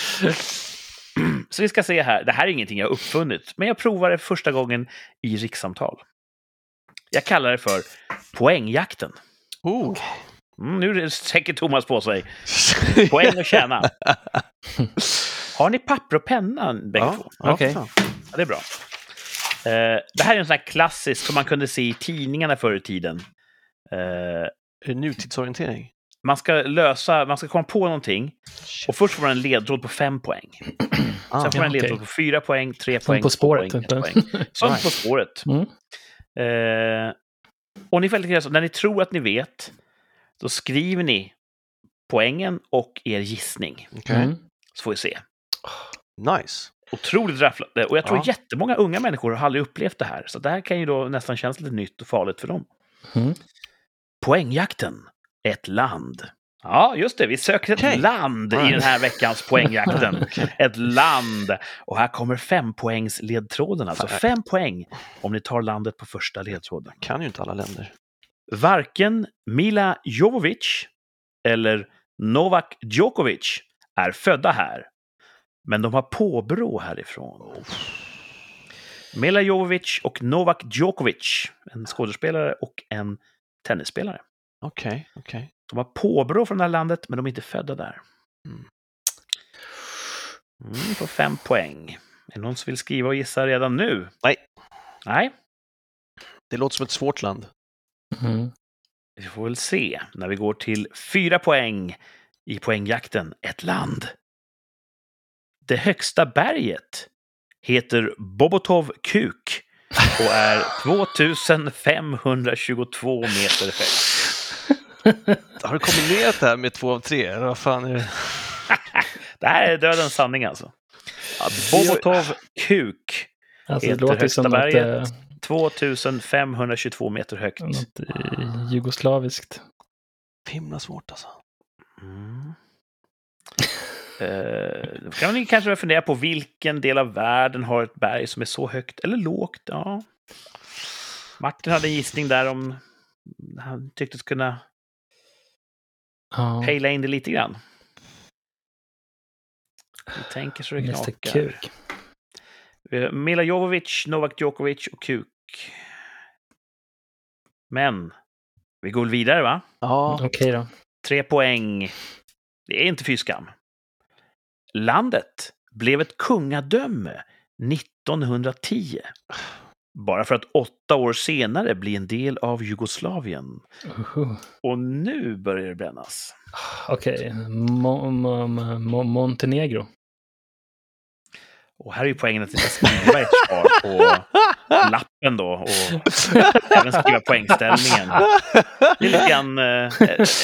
Så vi ska se här. Det här är ingenting jag har uppfunnit, men jag provar det första gången i rikssamtal. Jag kallar det för poängjakten. Oh. Mm, nu tänker Thomas på sig. Poäng att tjäna. Har ni papper och penna bägge två? ja, ja, Okej. för fan. Ja, det är bra. Eh, det här är en sån här klassisk som man kunde se i tidningarna förr i tiden. Eh, Är det nutidsorientering? man ska lösa, man ska komma på någonting. Och först får man en ledtråd på fem poäng. Ah, Sen får man en Ah, okej. ledtråd på fyra poäng, tre Som poäng, På två spåret. poäng, ett inte. poäng. Som På Nice. spåret. Mm. Eh, och ni får helt enkelt göra så, när ni tror att ni vet, då skriver ni poängen och er gissning. Okej. Mm. Så får vi se. Nice. Otroligt rafflande. Och jag tror Ja. jättemånga unga människor har aldrig upplevt det här. Så det här kan ju då nästan kännas lite nytt och farligt för dem. Mm. Poängjakten. Ett land. Ja, just det. Vi söker ett Okej. land i Ja. den här veckans poängjakten. ett land. Och här kommer fempoängsledtråden. Alltså Fan. fem poäng om ni tar landet på första ledtråden. Kan ju inte alla länder. Varken Mila Jovovic eller Novak Djokovic är födda här. Men de har påbrå härifrån. Mila Jovovic och Novak Djokovic, en skådespelare och en tennisspelare. Okej, okej. De har påbrå från det här landet, men de är inte födda där. Mm. Mm, på fem poäng. Är det någon som vill skriva och gissa redan nu? Nej. Nej, Det låter som ett svårt land. Mm. vi får väl se när vi går till fyra poäng i poängjakten. Ett land. Det högsta berget heter Bobotov Kuk och är 2522 meter högt. Har du kombinerat det här med två av tre? Eller vad fan är det? Det här är dödens sanning alltså. Ja, Bobotov Kuk. Alltså, det Heter låter ju som Högsta något, eh, berget. 2522 meter högt. något eh, jugoslaviskt. Himla svårt alltså. Mm. Eh, då kan ni kanske fundera på vilken del av världen har ett berg som är så högt eller lågt? Ja. Martin hade en gissning där om han tycktes kunna Ja. pejla in det lite grann. Vi tänker så det Mr knakar. Kuk. Eh, Mila Jovovic, Novak Djokovic och Kuk. Men vi går vidare va? Ja, Okej då. Tre poäng. Det är inte fy skam. Landet blev ett kungadöme 1910. Bara för att åtta år senare bli en del av Jugoslavien. Uhu. Och nu börjar det brännas. Okej, Mo- Mo- Mo- Montenegro. Och här är ju poängen att jag ska skriva ett svar på lappen då. Och även skriva poängställningen. Det är lite grann eh,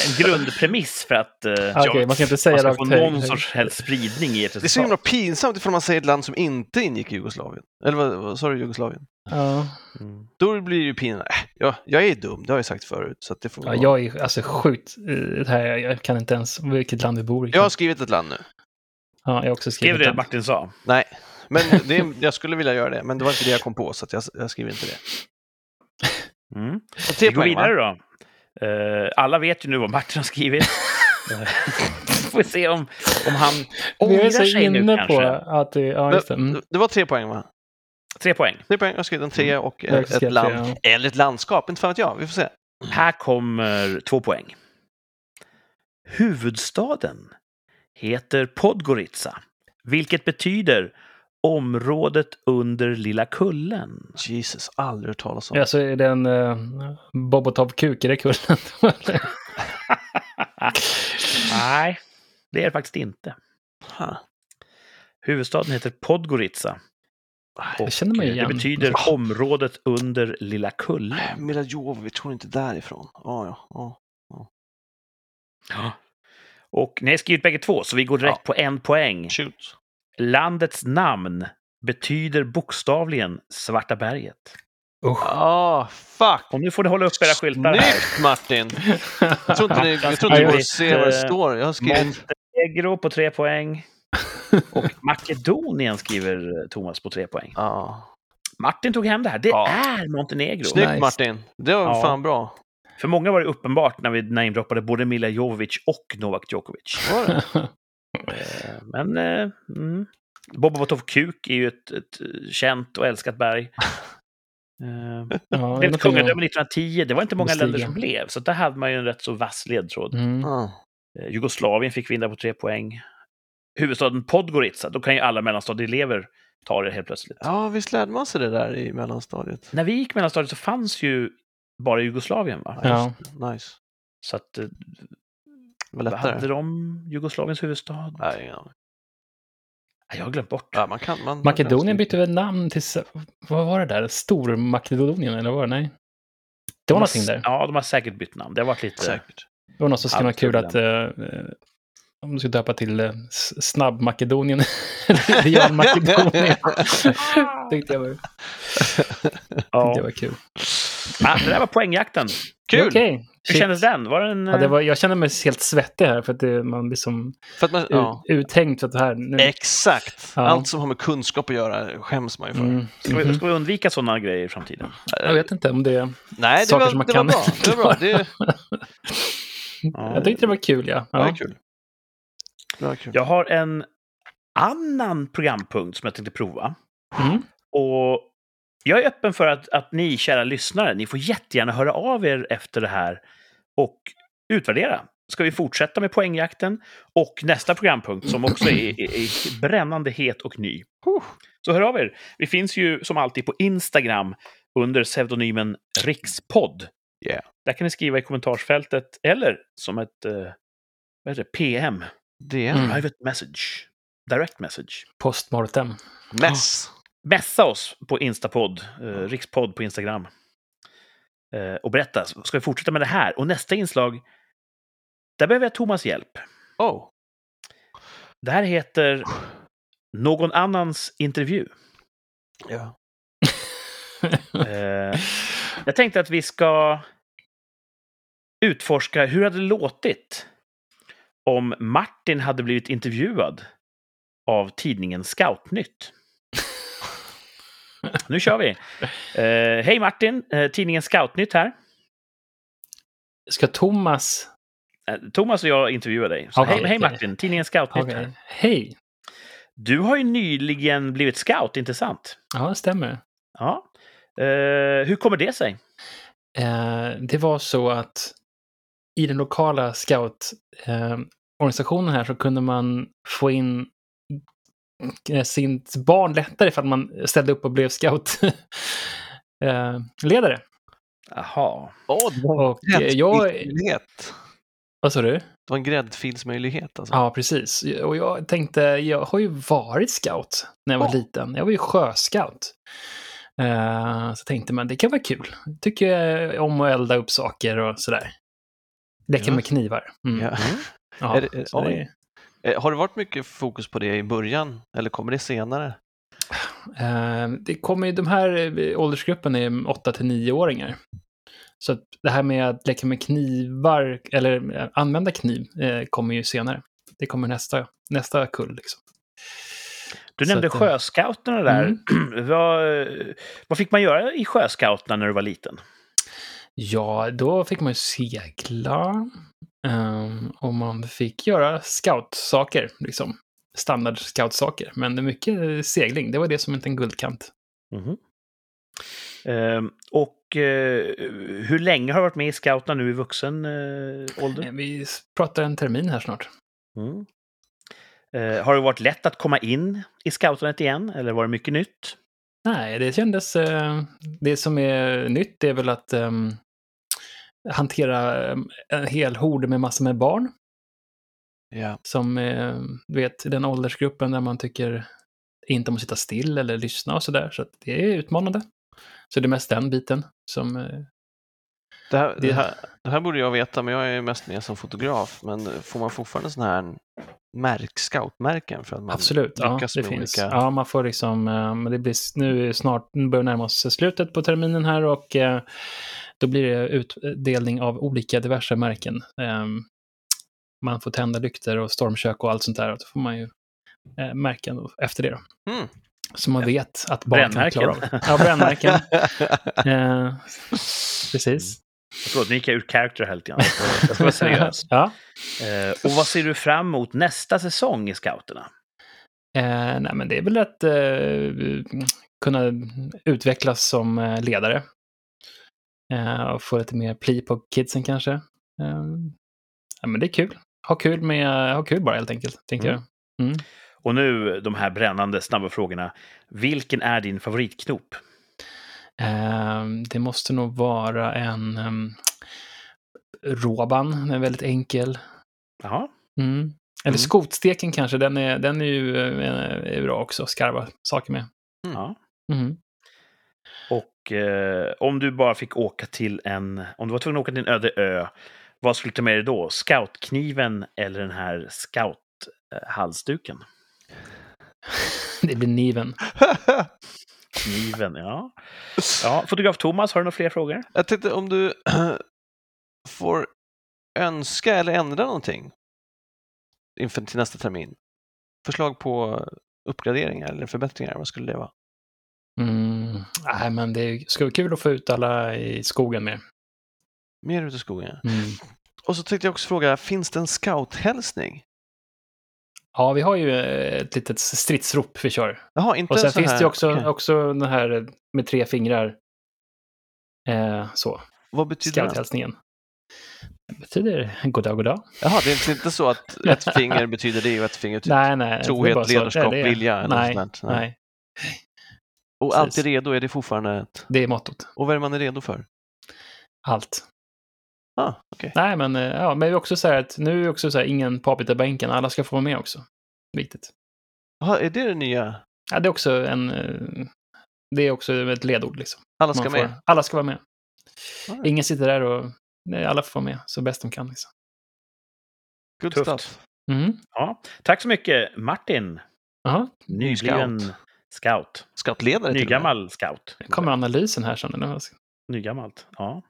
en grundpremiss för att eh, Okej, man ska inte säga man ska rakt få hög- någon sorts helst spridning i ett Det är så himla resultat. pinsamt ifall man säger ett land som inte ingick i Jugoslavien. Eller vad- vad sa du, Jugoslavien? Ja. Mm. Då blir det ju pinsamt. Äh, jag, jag är dum, det har jag sagt förut. Så att det får ja, vara. jag är alltså sjukt... eh, Det här, jag kan inte ens vilket land vi bor i. jag har skrivit ett land nu. ja, jag har också Skrev skrivit det den. Martin sa. Nej, men det, är- jag skulle vilja göra det. Men det var inte det jag kom på, så att jag, jag skriver inte det. Mm. Så Vi tre går poäng, va? vidare då. Eh, alla vet ju nu vad Martin har skrivit. Eh, Får se om, om han Vi är ångrar så sig nu inne på kanske. att det... Ja, just det. Mm. Det- Det var tre poäng, va? Tre poäng. Tre poäng. Mm. Jag har skrivit en trea och Jag har ett, också ett skrivit land. det, Eller ett landskap, inte fan vet jag. Vi får se. Här kommer två poäng. Huvudstaden heter Podgorica, vilket betyder området under Lilla Kullen. Jesus, aldrig hört talas om. Ja, så är det en eh, Bobotov-kuk, är det kullen? Nej, det är det faktiskt inte. Huh. Huvudstaden heter Podgorica. Det känner man ju eh, igen. Det betyder området under Lilla Kullen. Mila Jovovich, tror inte därifrån. Ja, ja, ja. Och ni har skrivit bägge två, så vi går direkt på en poäng. Shoot. Landets namn betyder bokstavligen Svarta berget. Usch. Ah, fuck! Och nu får ni hålla upp era skyltar här. Snyggt Martin! Jag tror inte, ni, jag tror inte det går att se vad det står. Jag har skrivit... Montenegro på tre poäng. Och Makedonien skriver Thomas på tre poäng. Ja. Martin tog hem det här. Det Ja. är Montenegro. Snyggt Nice. Martin! Det var Ja. fan bra. För många var det uppenbart när vi namedroppade både Mila Jovovic och Novak Djokovic. Var det? Eh, Men... Eh, mm. Bobotov Kuk är ju ett, ett eh, känt och älskat berg. Eh, Det Ja, blev ett någonting att- kungadöme 1910. Det var inte många Bestiga. länder som blev, så där hade man ju en rätt så vass ledtråd. Mm. Ja. Eh, Jugoslavien fick vinna på tre poäng. Huvudstaden Podgorica, då kan ju alla mellanstadieelever ta det helt plötsligt. ja, visst lärde man sig det där i mellanstadiet? När vi gick mellanstadiet så fanns ju bara Jugoslavien, va? Ja. Nice. Så att, eh, Det var hade lättare. de Jugoslaviens huvudstad? Nej, ingen aning. Nej, Jag har glömt bort. ja, man kan, man, Makedonien bytte väl namn till... s- Vad var det där? Stormakedonien, eller vad var det? Nej. Det De har- var någonting där. Ja, de har säkert bytt namn. Det har varit lite... Säkert. Det var något som skulle vara Allt kul att... eh, eh, om du ska döpa till eh, s- Snabb-Makedonien. eller Ideal-Makedonien. Tyckte jag var, tyckte jag Ja. var kul. Ah, det där var poängjakten. Kul! Okej. Hur Shit. kändes den? Var den... Ja, det eh, var, jag kände mig helt svettig här för att det, man blir som För att man, ja. ut, uttänkt. För att det här, nu, Exakt! Ja. Allt som har med kunskap att göra skäms man ju för. mm, Ska vi, mhm. ska vi undvika sådana grejer i framtiden? Jag vet inte om det... Nej, det Saker var, som man det var kan bra. Det var bra. Det, Ja. Mm. Jag tyckte det var kul, ja. det var ja. kul. Det var kul. Jag har en annan programpunkt som jag tänkte prova. Mm. Och jag är öppen för att, att ni, kära lyssnare, ni får jättegärna höra av er efter det här och utvärdera. Ska vi fortsätta med poängjakten och nästa programpunkt som också är, är, är brännande het och ny. Så hör av er. Vi finns ju som alltid på Instagram under pseudonymen rikspodd. Yeah. Där kan ni skriva i kommentarsfältet eller som ett eh, vad heter det, PM, Det är Mm. private message, direct message. Postmortem. mess. messa oss på Instapod, eh, Rikspodd på Instagram. Eh, och berätta, ska vi fortsätta med det här? Och nästa inslag, där behöver jag Thomas hjälp. Oh. Det här heter Någon annans intervju. Ja. Eh, jag tänkte att vi ska utforska hur hade det låtit om Martin hade blivit intervjuad av tidningen Scoutnytt. Nu kör vi! Eh, Hej Martin, eh, tidningen Scoutnytt här. Ska Thomas... Eh, Thomas och jag intervjuar dig. Så Okej, hej, hej okej. Martin, tidningen Scoutnytt Okej. här. Hej! Du har ju nyligen blivit scout, inte sant? Ja, det stämmer. Ja. Eh, hur kommer det sig? Eh, det var så att i den lokala scoutorganisationen här så kunde man få in eh, sitt barn lättare för att man ställde upp och blev scoutledare. Jaha. Åh, det var Och eh, en jag... gräddfilsmöjlighet. Vad sa du? Det var en gräddfilsmöjlighet alltså. Ja, precis. Och jag tänkte, jag har ju varit scout när jag var Ja. liten. Jag var ju sjöscout. Eh, så tänkte man, det kan vara kul. Tycker jag om att elda upp saker och sådär. Leka Ja. med knivar. Mm. Ja. Ja, Är det- så det- Eh, Har det varit mycket fokus på det i början eller kommer det senare? Eh, det kommer ju, de här eh, åldersgruppen är 8-9-åringar. Så att det här med att leka med knivar, eller eh, använda kniv, eh, kommer ju senare. Det kommer nästa, nästa kull. Liksom. Mm. Du Så nämnde att, eh, sjöscouterna där. vad, vad fick man göra i sjöscouterna när du var liten? Ja, då fick man ju segla. ehm, och man fick göra scoutsaker, liksom. Standard scoutsaker. Men det är mycket eh, segling, det var det som inte en guldkant. Mhm. Ehm, och eh, hur länge har du varit med i scouterna nu i vuxen eh, Mm. ålder? Eh, Vi pratar en termin här snart. Mm. Eh, har det varit lätt att komma in i scouternet igen, eller var det mycket nytt? Nej, det kändes... eh, Det som är nytt är väl att ehm, hantera eh, en hel hord med massor med barn. Ja. Som, eh, du vet, den åldersgruppen där man tycker inte om att sitta still eller lyssna och sådär. Så att det är utmanande. Så det är mest den biten som... eh, Det, här, Det- det, här, det här borde jag veta, men jag är mest med som fotograf. Men får man fortfarande sån här märk, scoutmärken för att man absolut, ja, lyckas det med finns. olika... Ja, man får liksom... eh, Men det blir s- nu är snart, nu börjar närma oss slutet på terminen här och eh, då blir det utdelning av olika diverse märken. Eh, Man får tända lykter och stormkök och allt sånt där. Och då får man ju eh, märken då efter det. Då. Mm. Så man vet att barn kan Hmm. Brännmärken. klara av. Ja, brännmärken. Eh, precis. Förlåt, nu gick jag ur character här lite grann. Jag ska- Mm. Jag ska vara seriös. ja. Eh, och vad ser du fram emot nästa säsong i scouterna? eh, nej, men det är väl att eh, kunna utvecklas som eh, ledare. Eh, och få lite mer pli på kidsen kanske. Eh, ja, men det är kul. Ha kul, med, ha kul bara helt enkelt, tänkte Mm. jag. Mm. Och nu de här brännande, snabba frågorna. Vilken är din favoritknop? Ehm, det måste nog vara en um, Roban, den är väldigt enkel. Jaha. Mm. Eller Mm. skotsteken kanske, den är, den är ju eh, är bra också, skarva saker med. Ja. Mm. Och eh, om du bara fick åka till en... Om du var tvungen att åka till en öde ö, vad skulle du ta med dig då? Scoutkniven eller den här scouthalsduken? Det blir niven. Kniven, ja. ja. Fotograf Thomas, har du några fler frågor? jag tänkte om du får önska eller ändra någonting inför till nästa termin. Förslag på uppgraderingar eller förbättringar, vad skulle det vara? Mm. Nej, men det ska vara kul att få ut alla i skogen mer. Mer ute i skogen. Mm. Och så tänkte jag också fråga, finns det en scouthälsning? Ja, vi har ju eh, ett litet stridsrop vi kör. Jaha, inte Och sen så finns här. det ju också, Okej. också den här eh, med tre fingrar. Eh, så, Vad betyder det? scouthälsningen. Det betyder goddag, goddag. Jaha, det är inte så att ett finger betyder det och ett finger betyder Nej, nej. det är bara trohet, så. Det är ledarskap, det. vilja eller Nej, något sånt. där. Nej, Och precis. alltid redo är det fortfarande ett... det är mottot. Och vad är man är redo för? Allt. Ah, okej. Nej, men, eh, ja, men vi också så här att nu är också så här, ingen bänken. Alla ska få vara med också. Viktigt. Jaha, är det det nya? Ja, det är också en... eh, Det är också ett ledord liksom. Alla ska Man får, med? Alla ska vara med. Alright. Ingen sitter där och... Nej, alla får vara med så bäst de kan liksom. Good Tufft. stuff. Mm. Ja. Tack så mycket, Martin. Aha. Nybliven scout. scout. Scoutledare till och med. Nygammal scout. Nu kommer analysen här sen. Eller? vad ska- Nygammalt, ja.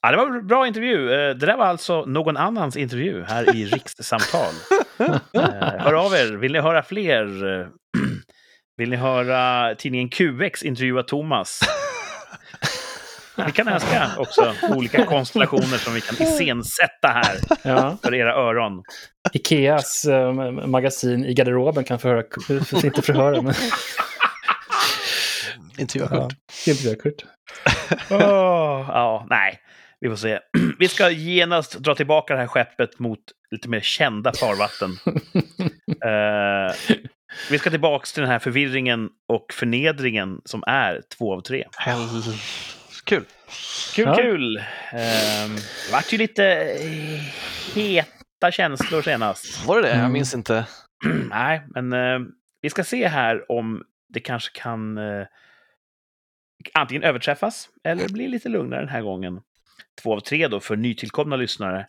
Ja, det var en bra intervju. Eh, Det där var alltså någon annans intervju här i Rikssamtal. Eh, Hör av er, vill ni höra fler? eh, Vill ni höra tidningen QX intervjua Thomas? Ni kan önska också olika konstellationer som vi kan iscensätta här Ja. för era öron. Ikeas eh, magasin i garderoben kan förhöra... Inte förhöra, men... Intervjuakort. Ja, det blir Kurt. Åh, ja, nej. Vi får se. Vi ska genast dra tillbaka det här skeppet mot lite mer kända farvatten. Eh, vi ska tillbaka till den här förvirringen och förnedringen som är två av tre. Hell... Kul. Kul, Ja. kul! Ehm, det vart ju lite eh, heta känslor senast. Var det det? Jag Mm. minns inte. Nej, men eh, vi ska se här om det kanske kan eh, antingen överträffas eller bli lite lugnare den här gången. Två av tre då för nytillkomna lyssnare.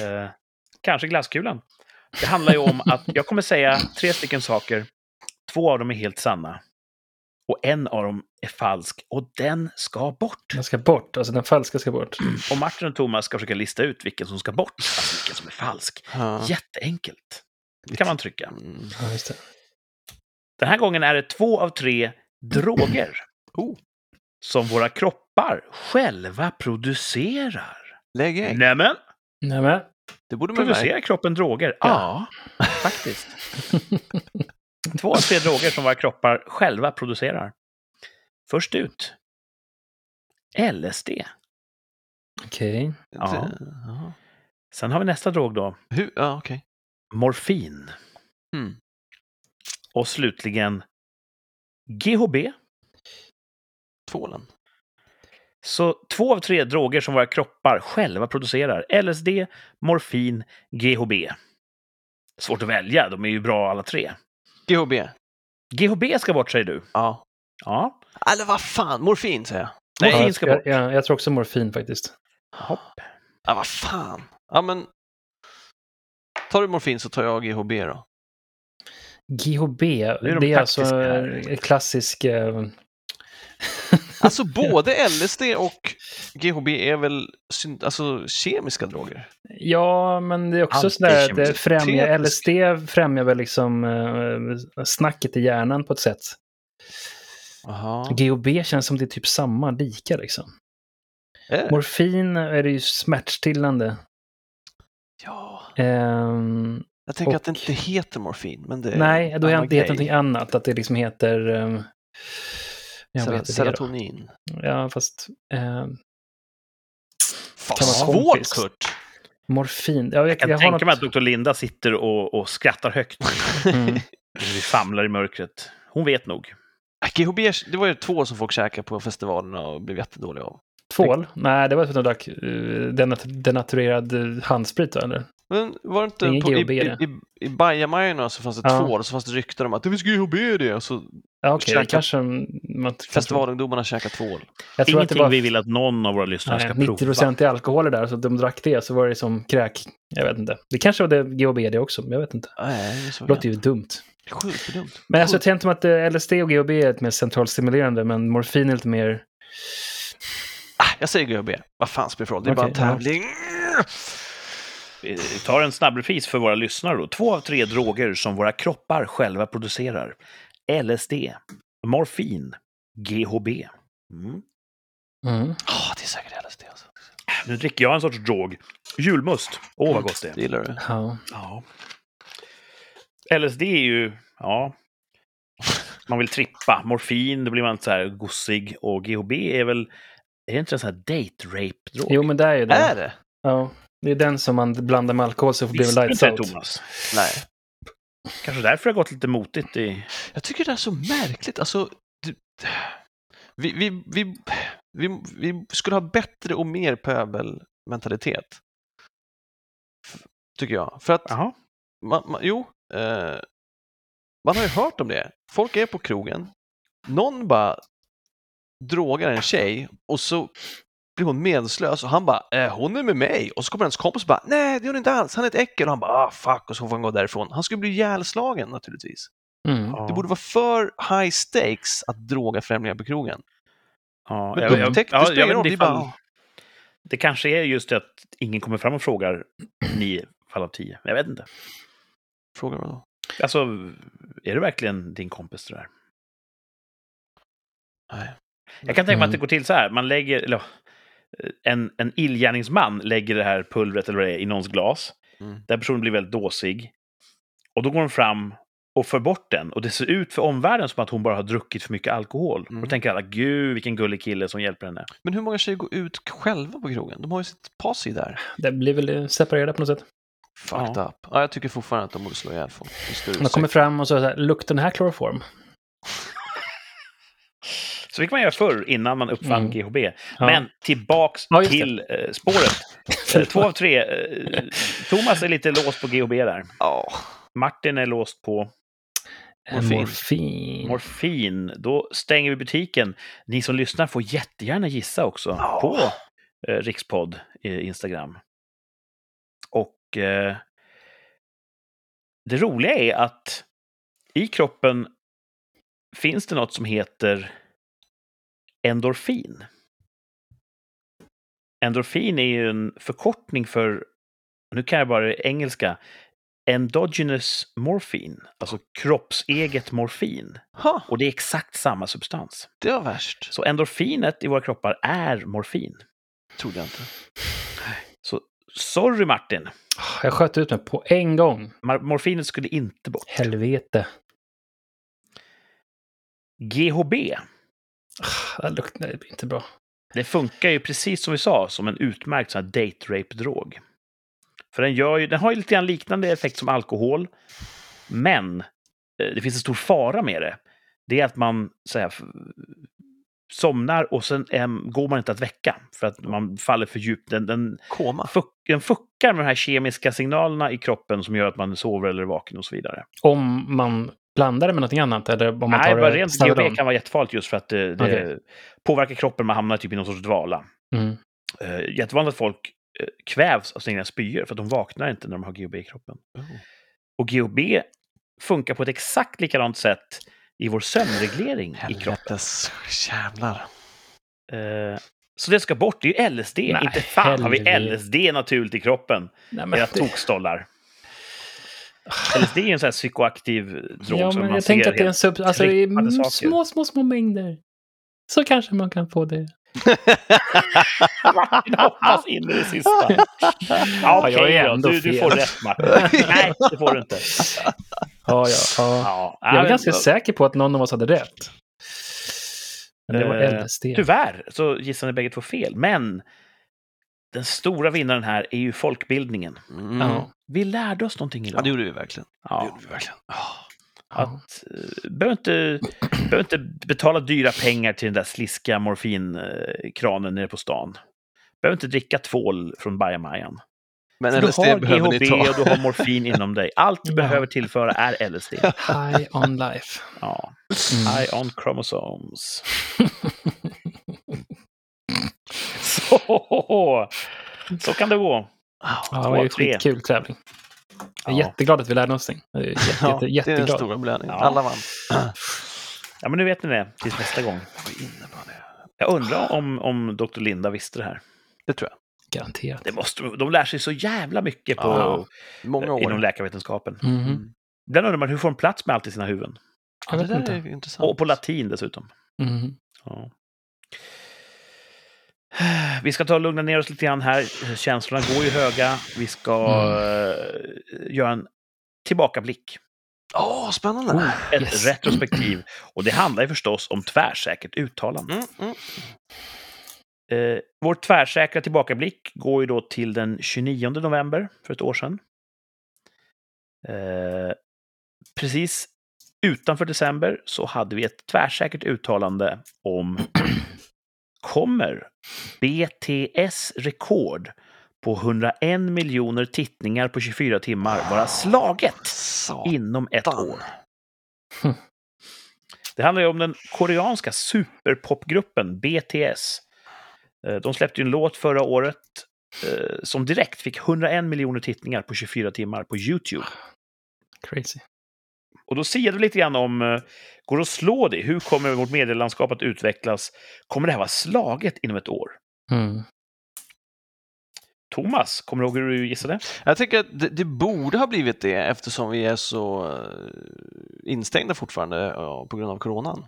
Eh, kanske glasskulan. Det handlar ju om att jag kommer säga tre stycken saker. Två av dem är helt sanna. Och en av dem är falsk och den ska bort. Den ska bort, alltså den falska ska bort. Och Martin och Thomas ska försöka lista ut vilken som ska bort, alltså vilken som är falsk. Ja. Jätteenkelt. Det kan man trycka. Mm. Ja, just det. Den här gången är det två av tre droger. Oh. Som våra kroppar själva producerar. Lägg ägg. Nämen! Nej, men. Det borde man märka. Producerar kroppen droger? Ah. Ja, faktiskt. Två av tre droger som våra kroppar själva producerar. Först ut. LSD. Okej. Ja. Jaha. Sen har vi nästa drog då. Hur? Ja, okej. Morfin. Mm. Och slutligen GHB. Tvålen. Så två av tre droger som våra kroppar själva producerar. LSD, morfin, GHB. Svårt att välja, de är ju bra alla tre. GHB. GHB ska bort, säger du. Ja. Ja. Eller vad fan, morfin säger jag. Nej, Ja, morfin jag, ska bort. jag, jag, jag tror också morfin faktiskt. Hopp. Ja, vad fan. Ja, men... Tar du morfin så tar jag GHB då. GHB, är de det är alltså taktiska här. en klassisk... eh, Alltså både LSD och GHB är väl syn- alltså, kemiska droger? Ja, men det är också sådär att det Antikemisk. främjar, Tetisk. LSD främjar väl liksom eh, snacket i hjärnan på ett sätt. Jaha. GHB känns som det är typ samma, lika liksom. Är det? Morfin är det ju smärtstillande. Ja. Ehm, Jag tänker Och- att det inte heter morfin, men det är nej, då annan är det heter grej. någonting annat. Att det liksom heter... ehm, ja, vad Ser- heter det då? Serotonin. Ja, fast ehm, Fan, Kan vara svårt kompis. Kurt! morfin. Ja, jag, Jag, jag, jag har tänker något... mig att Dr. Linda sitter och, och skrattar högt. Mm. Vi famlar i mörkret. Hon vet nog. GHB, det var ju två som folk käkade på festivalerna och blev jättedåliga av. Tvål? Nej, det var för att de drack eh, denat- denaturerad eh, handsprit då, eller? Men var det inte Ingen på, i, GHB det. i, i, i bajamajorna så fanns det Ja. tvål och så fanns det rykten om att det finns GHB i det. Och så Ja, okej. Käka- det Kanske... Man, festivalungdomarna käkar tvål. Jag tror att det Ingenting var vi vill att någon av våra lyssnare nej, ska 90 prova. procent i alkohol är där, så att de drack det så var det som kräk. Jag vet inte. Det kanske var det GHB det också, men jag vet inte. Nej, det är så Det låter ju dumt. Sjukt dumt. Men alltså, jag tänkte mig att eh, LSD och GHB är lite mer centralstimulerande, men morfin är lite mer... Ah, jag säger GHB. Vad fan spelar det för roll? Det är bara en Okej, ja. tävling. Vi tar en snabbrepris för våra lyssnare. Då. Två av tre droger som våra kroppar själva producerar. LSD, morfin, GHB. Mm. Mm. Ah, det är säkert LSD alltså. Nu dricker jag en sorts drog. Julmust. Åh, vad gott det är. Det gillar du. Ja. Ja. LSD är ju... Ja. Man vill trippa. Morfin, då blir man så här gossig. Och GHB är väl... Är det inte en sån här date rape-drog? Jo, men det är ju det. Är det? Ja. Det är den som man blandar med alkohol så blir Visste det du lights inte det, out. Thomas? Nej. Kanske därför det har gått lite motigt i... Jag tycker det är så märkligt. Alltså, du, vi, vi, vi, vi, vi skulle ha bättre och mer pöbelmentalitet. F- Tycker jag. För att, Jaha. man, man, jo, eh, man har ju hört om det. Folk är på krogen, någon bara drogar en tjej och så blir hon medslös och han bara eh, “Hon är med mig” och så kommer hans kompis och bara “Nej, det gör hon inte alls, han är ett äckel” och han bara “Ah, fuck” och så får han gå därifrån. Han skulle bli ihjälslagen naturligtvis. Mm. Ja. Det borde vara för high stakes att droga främlingar på krogen. Ja, Men jag- jag- upptäckt, ja, det spelar jag ingen roll. vet Det är inte bara, ifall- Det kanske är just det att ingen kommer fram och frågar nio fall av tio. Jag vet inte. frågar man då. Alltså, är det verkligen din kompis det där? Nej. Jag kan tänka mig att det Mm. går till så här. Man lägger, eller, eh, en, en illgärningsman lägger det här pulvret eller vad det är, i någons glas. Mm. Den personen blir väldigt dåsig. Och då går de fram och för bort den. Och det ser ut för omvärlden som att hon bara har druckit för mycket alkohol. Mm. Och då tänker alla, gud vilken gullig kille som hjälper henne. Men hur många tjejer går ut själva på krogen? De har ju sitt pass i där. Det blir väl eh, separerade på något sätt. Fucked Ja. up. Ja, jag tycker fortfarande att de borde slå ihjäl folk. i större De kommer utsträckning. fram och så här, luktar den här kloroform? Så fick man göra förr, innan man uppfann Mm. GHB. Ja. Men tillbaks Ja, just det. till eh, spåret. Eh, Två av tre. eh, Thomas är lite låst på GHB där. Ja, Martin är låst på Morfin. Morfin. morfin. Då stänger vi butiken. Ni som lyssnar får jättegärna gissa också Ja. på eh, Rikspodd eh, Instagram. Och eh, det roliga är att i kroppen finns det något som heter endorfin. Endorfin är ju en förkortning för, nu kan jag bara det engelska, endogenous morfin, alltså kroppseget morfin. ha, Och det är exakt samma substans. det var värst. Så endorfinet i våra kroppar är morfin. Trodde jag inte. Så sorry Martin, Jag sköt ut mig på en gång. Mar- morfinet skulle inte bort. Helvete. GHB, Ah, Det luktar det blir inte bra. det funkar ju precis som vi sa som en utmärkt sån här date rape-drog. För den, gör ju, den har ju lite grann liknande effekt som alkohol. Men eh, det finns en stor fara med det. Det är att man så här, f- somnar och sen em, går man inte att väcka. För att man faller för djupt. Den, den, Koma. fuck, den fuckar med de här kemiska signalerna i kroppen som gör att man sover eller är vaken och så vidare. Om man blandar det med någonting annat eller om man Nej, tar bara det rent Stavadon. GHB kan vara jättefarligt just för att det, det Okej. påverkar kroppen, man hamnar typ i någon sorts dvala. Mm. Uh, jättevanligt att folk eh, kvävs av sina egna spyor för att de vaknar inte när de har GHB i kroppen. Oh. Och GHB funkar på ett exakt likadant sätt i vår sömnreglering i kroppen. Helvetes jävlar. Eh, så det ska bort, det är ju LSD. Nej, inte fan har vi helvete. LSD naturligt i kroppen, Nej, men era det- tokstollar. LSD är ju en sån här psykoaktiv drog Ja, som men man jag tänker ser att det är en sub... Alltså, det är trippade mm, saker. små, små, små mängder. Så kanske man kan få det. Martin hoppas in i det sista. Ja, jag Okej är då, ändå du, du fel. får rätt Martin. Nej, det får du inte. Ja, ja. ja. Ja, Jag men- var ganska säker på att någon av oss hade rätt. Men det Eh, var LSD. Tyvärr så gissade ni bägge två fel, men den stora vinnaren här är ju folkbildningen. Mm. Ja. Ja. Vi lärde oss någonting ja, idag. det gjorde vi verkligen. Det Ja, gjorde vi verkligen. Ah. Ja. att, eh, behöver, inte, behöver inte betala dyra pengar till den där sliska morfinkranen nere på stan. Behöver inte dricka tvål från bajamajan. Men För Du LSD har behöver ni GHB ta. och du har morfin inom dig. Allt du Ja. behöver tillföra är LSD. High on life. Ja. Mm. Eye on chromosomes. så, så kan det gå. Ah. Ja, det var ju Två, tre. skitkul tävling. Jag är Ja. jätteglad att vi lärde oss någonting. Jag är jätte, Ja, det är jätte, den jätteglad. stora belöningen. Ja. Alla vann. Ja, men nu vet ni det tills nästa gång. Vad innebar det? Jag undrar om, om Dr. Linda visste det här. Det tror jag. Garanterat. Det måste, de lär sig så jävla mycket på, eh, Ja, Många år. inom läkarvetenskapen. Mhm. Ibland undrar man hur får de plats med allt i sina huvuden? Jag Ja, det vet där är inte. ju intressant. Och på latin dessutom. Mhm. Ja. Vi ska ta och lugna ner oss lite grann här. Känslorna går ju höga. Vi ska eh, göra en tillbakablick. Åh, spännande! Oh, ett yes. retrospektiv. Och det handlar ju förstås om tvärsäkert uttalande. Mm, mm. Eh, vår tvärsäkra tillbakablick går ju då till den 29 november för ett år sedan. Eh, precis utanför december så hade vi ett tvärsäkert uttalande om kommer BTS rekord på 101 miljoner tittningar på 24 timmar vara slaget Satan. inom ett år. Det handlar ju om den koreanska superpopgruppen BTS. Eh, De släppte ju en låt förra året eh, som direkt fick 101 miljoner tittningar på 24 timmar på YouTube. Crazy. Och då siade vi lite grann om, eh, går det att slå det? Hur kommer vårt medielandskap att utvecklas? Kommer det här vara slaget inom ett år? Mm. Thomas, kommer du ihåg hur du gissade? Jag tycker att det, det borde ha blivit det eftersom vi är så eh, instängda fortfarande ja, på grund av coronan.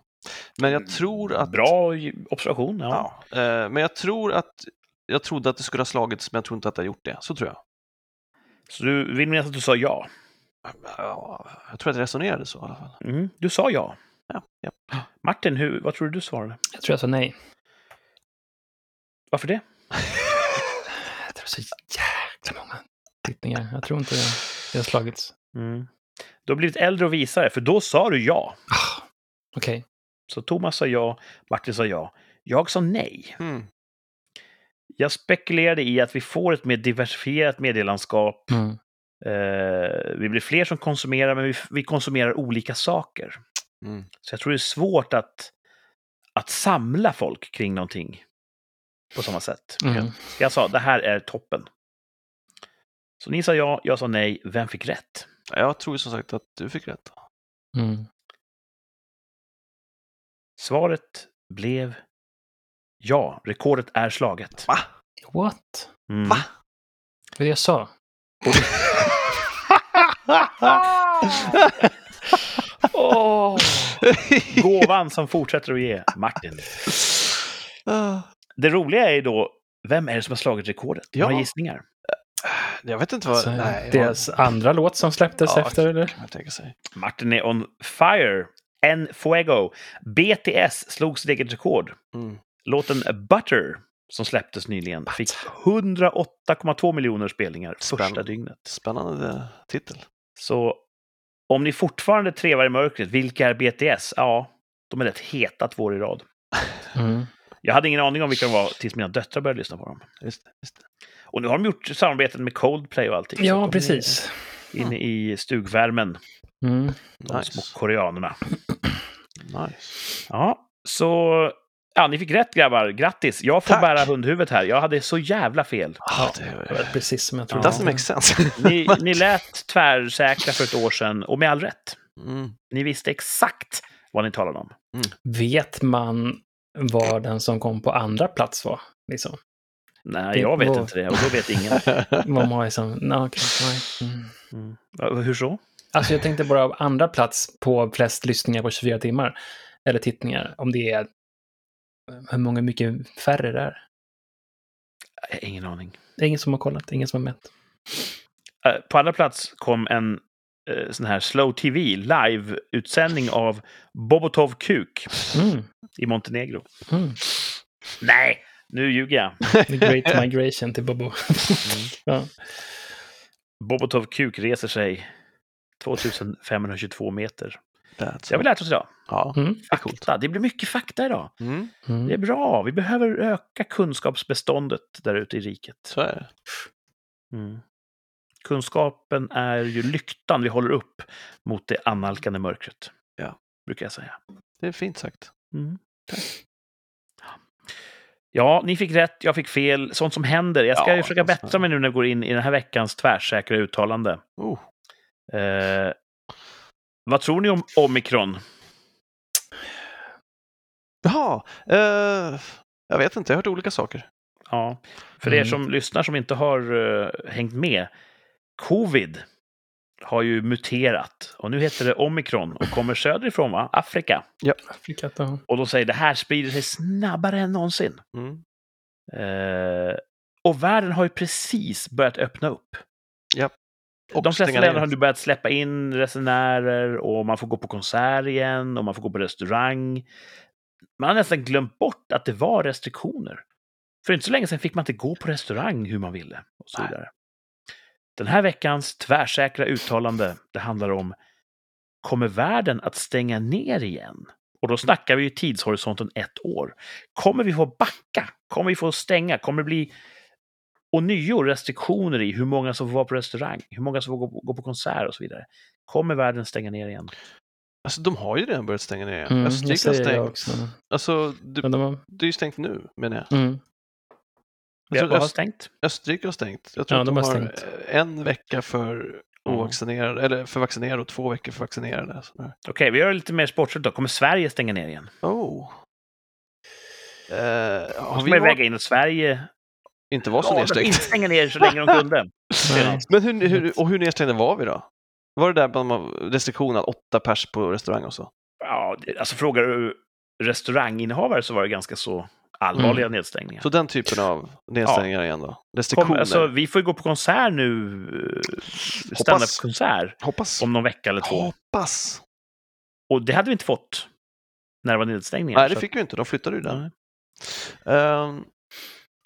Men Mm, jag tror att... Bra observation. Ja. Ja, eh, men jag tror att... Jag trodde att det skulle ha slagits, men jag tror inte att det har gjort det. Så tror jag. Så du vill minnas att du sa ja? Ja, jag tror att jag resonerade så i alla fall. Mm, du sa ja. Ja, ja. Martin, hur, vad tror du du svarade? Jag tror jag sa nej. Varför det? Jag tror så jäkla många tittningar. Jag tror inte det har slagits. Mm. Du har blivit äldre och visare, för då sa du ja. Ah, Okej. Så Thomas sa ja, Martin sa ja. Jag sa nej. Mm. Jag spekulerade i att vi får ett mer diversifierat medielandskap. Mm. Eh, vi blir fler som konsumerar, men vi, vi konsumerar olika saker. Mm. Så jag tror det är svårt att, att samla folk kring någonting på samma sätt. Mm. Jag sa, det här är toppen. Så ni sa ja, jag sa nej. Vem fick rätt? Jag tror ju som sagt att du fick rätt. Mm. Svaret blev ja. Rekordet är slaget. Va? What? Mm. Va? Det var det jag sa. Åh! Gåvan som fortsätter att ge Martin. Det roliga är ju då, vem är det som har slagit rekordet? Ja. Några gissningar? jag vet inte vad... Alltså, nej, deras andra låt som släpptes Ja, efter, eller? kan man tänka sig. Martin är on fire. En fuego. BTS slog sitt eget rekord. Mm. Låten Butter, som släpptes nyligen, fick 108,2 miljoner spelningar första Spännande. dygnet. Spännande titel. Så om ni fortfarande trevar i mörkret, vilka är BTS? Ja, de är rätt heta två år i rad. Mm. Jag hade ingen aning om vilka de var tills mina döttrar började lyssna på dem. Just det, just det. Och nu har de gjort samarbeten med Coldplay och allting. Så de Ja, är precis. Inne i stugvärmen, Mm. de Nice. små koreanerna. nice. Ja, så... Ja, ni fick rätt grabbar. Grattis! Jag får Tack. bära hundhuvudet här. Jag hade så jävla fel. Ah, det Det var precis som jag Ja. trodde. doesn't make sense. Ni, ni lät tvärsäkra för ett år sedan, och med all rätt. Mm. Ni visste exakt vad ni talade om. Vet man vad den som kom på andra plats var? Liksom. Nej, Det jag vet var- inte det, och då vet ingen. Vad man är som... Nej, okej, nej. Mm. Mm. Ja, Hur så? Alltså jag tänkte bara av andra plats på flest lyssningar på 24 timmar. Eller tittningar. Om det är... eh, Hur många mycket färre det är. Nej, Ingen aning. Det är ingen som har kollat, ingen som har mätt. Eh, På andra plats kom en eh, sån här Slow TV live-utsändning av Bobotov Kuk Mm. i Montenegro. Mm. Nej, nu ljuger jag. The Great Migration till Bobo. ja. Bobotov Kuk reser sig 2522 meter. That's Det har vi lärt oss idag. ja. Mm. det är coolt. Fakta. Det blir mycket fakta idag. Mm. Det är Mm. bra. Vi behöver öka kunskapsbeståndet där ute i riket. Så är det. Mm. Kunskapen är ju lyktan vi håller upp mot det annalkande mörkret. Ja. Brukar jag säga. Det är fint sagt. Mm. Tack. Ja, ni fick rätt, jag fick fel. Sånt som händer. Jag ska Ja, ju försöka det är så. bättra mig nu när jag går in i den här veckans tvärsäkra uttalande. Oh. Eh, vad tror ni om omikron? Jaha, eh, jag vet inte, jag har hört olika saker. Ja, för er Mm. som lyssnar som inte har eh, hängt med. Covid har ju muterat och nu heter det omikron och kommer söderifrån, va? Afrika. Afrika, ja. Och de säger det här sprider sig snabbare än någonsin. Mm. Eh, och världen har ju precis börjat öppna upp. De Och flesta stänga länder ner. har nu börjat släppa in resenärer och man får gå på konsert igen och man får gå på restaurang. Man har nästan glömt bort att det var restriktioner. För inte så länge sedan fick man inte gå på restaurang hur man ville. Och så Nej. vidare. Den här veckans tvärsäkra uttalande, det handlar om Kommer världen att stänga ner igen? Och då snackar vi ju tidshorisonten ett år. Kommer vi få backa? Kommer vi få stänga? Kommer det bli ånyo restriktioner i hur många som får vara på restaurang, hur många som får gå, gå på konsert och så vidare? Kommer världen stänga ner igen? Alltså de har ju redan börjat stänga ner. Mm, alltså, jag Tyskland säger det stängt. också. Alltså, du, Men de har... det är ju stängt nu, menar jag. mm. Vi har Jag tror bara Alltså, Öst, stängt. Österrike har stängt. Jag tror Ja, att de de har har stängt. eh, en vecka för Mm. ovaccinerade, eller för vaccinerade och två veckor för vaccinerade. sådär. Okej, vi gör lite mer sportsligt då. Kommer Sverige stänga ner igen? Oh. Eh, Då har ska man vi ju väga in att Sverige inte var så valde att inte Mm. nedstängt? stänga ner så länge de kunde. Nej. Men hur, hur, och hur nedstängda var vi då? Var det där bland de- restriktionen att åtta pers på restaurang och så? Ja, det- alltså frågar du restauranginnehavare så var det ganska så allvarliga nedstängningar. Mm. Så den typen av nedstängningar igen då? Restriktioner? Kom, alltså, vi får ju gå på konsert nu, eh, Hoppas. standup-konsert, hoppas. om någon vecka eller två. Hoppas! Och det hade vi inte fått när det var nedstängningar. Nej, det Så fick vi inte. De flyttade ju att- den. Nej. Ehm,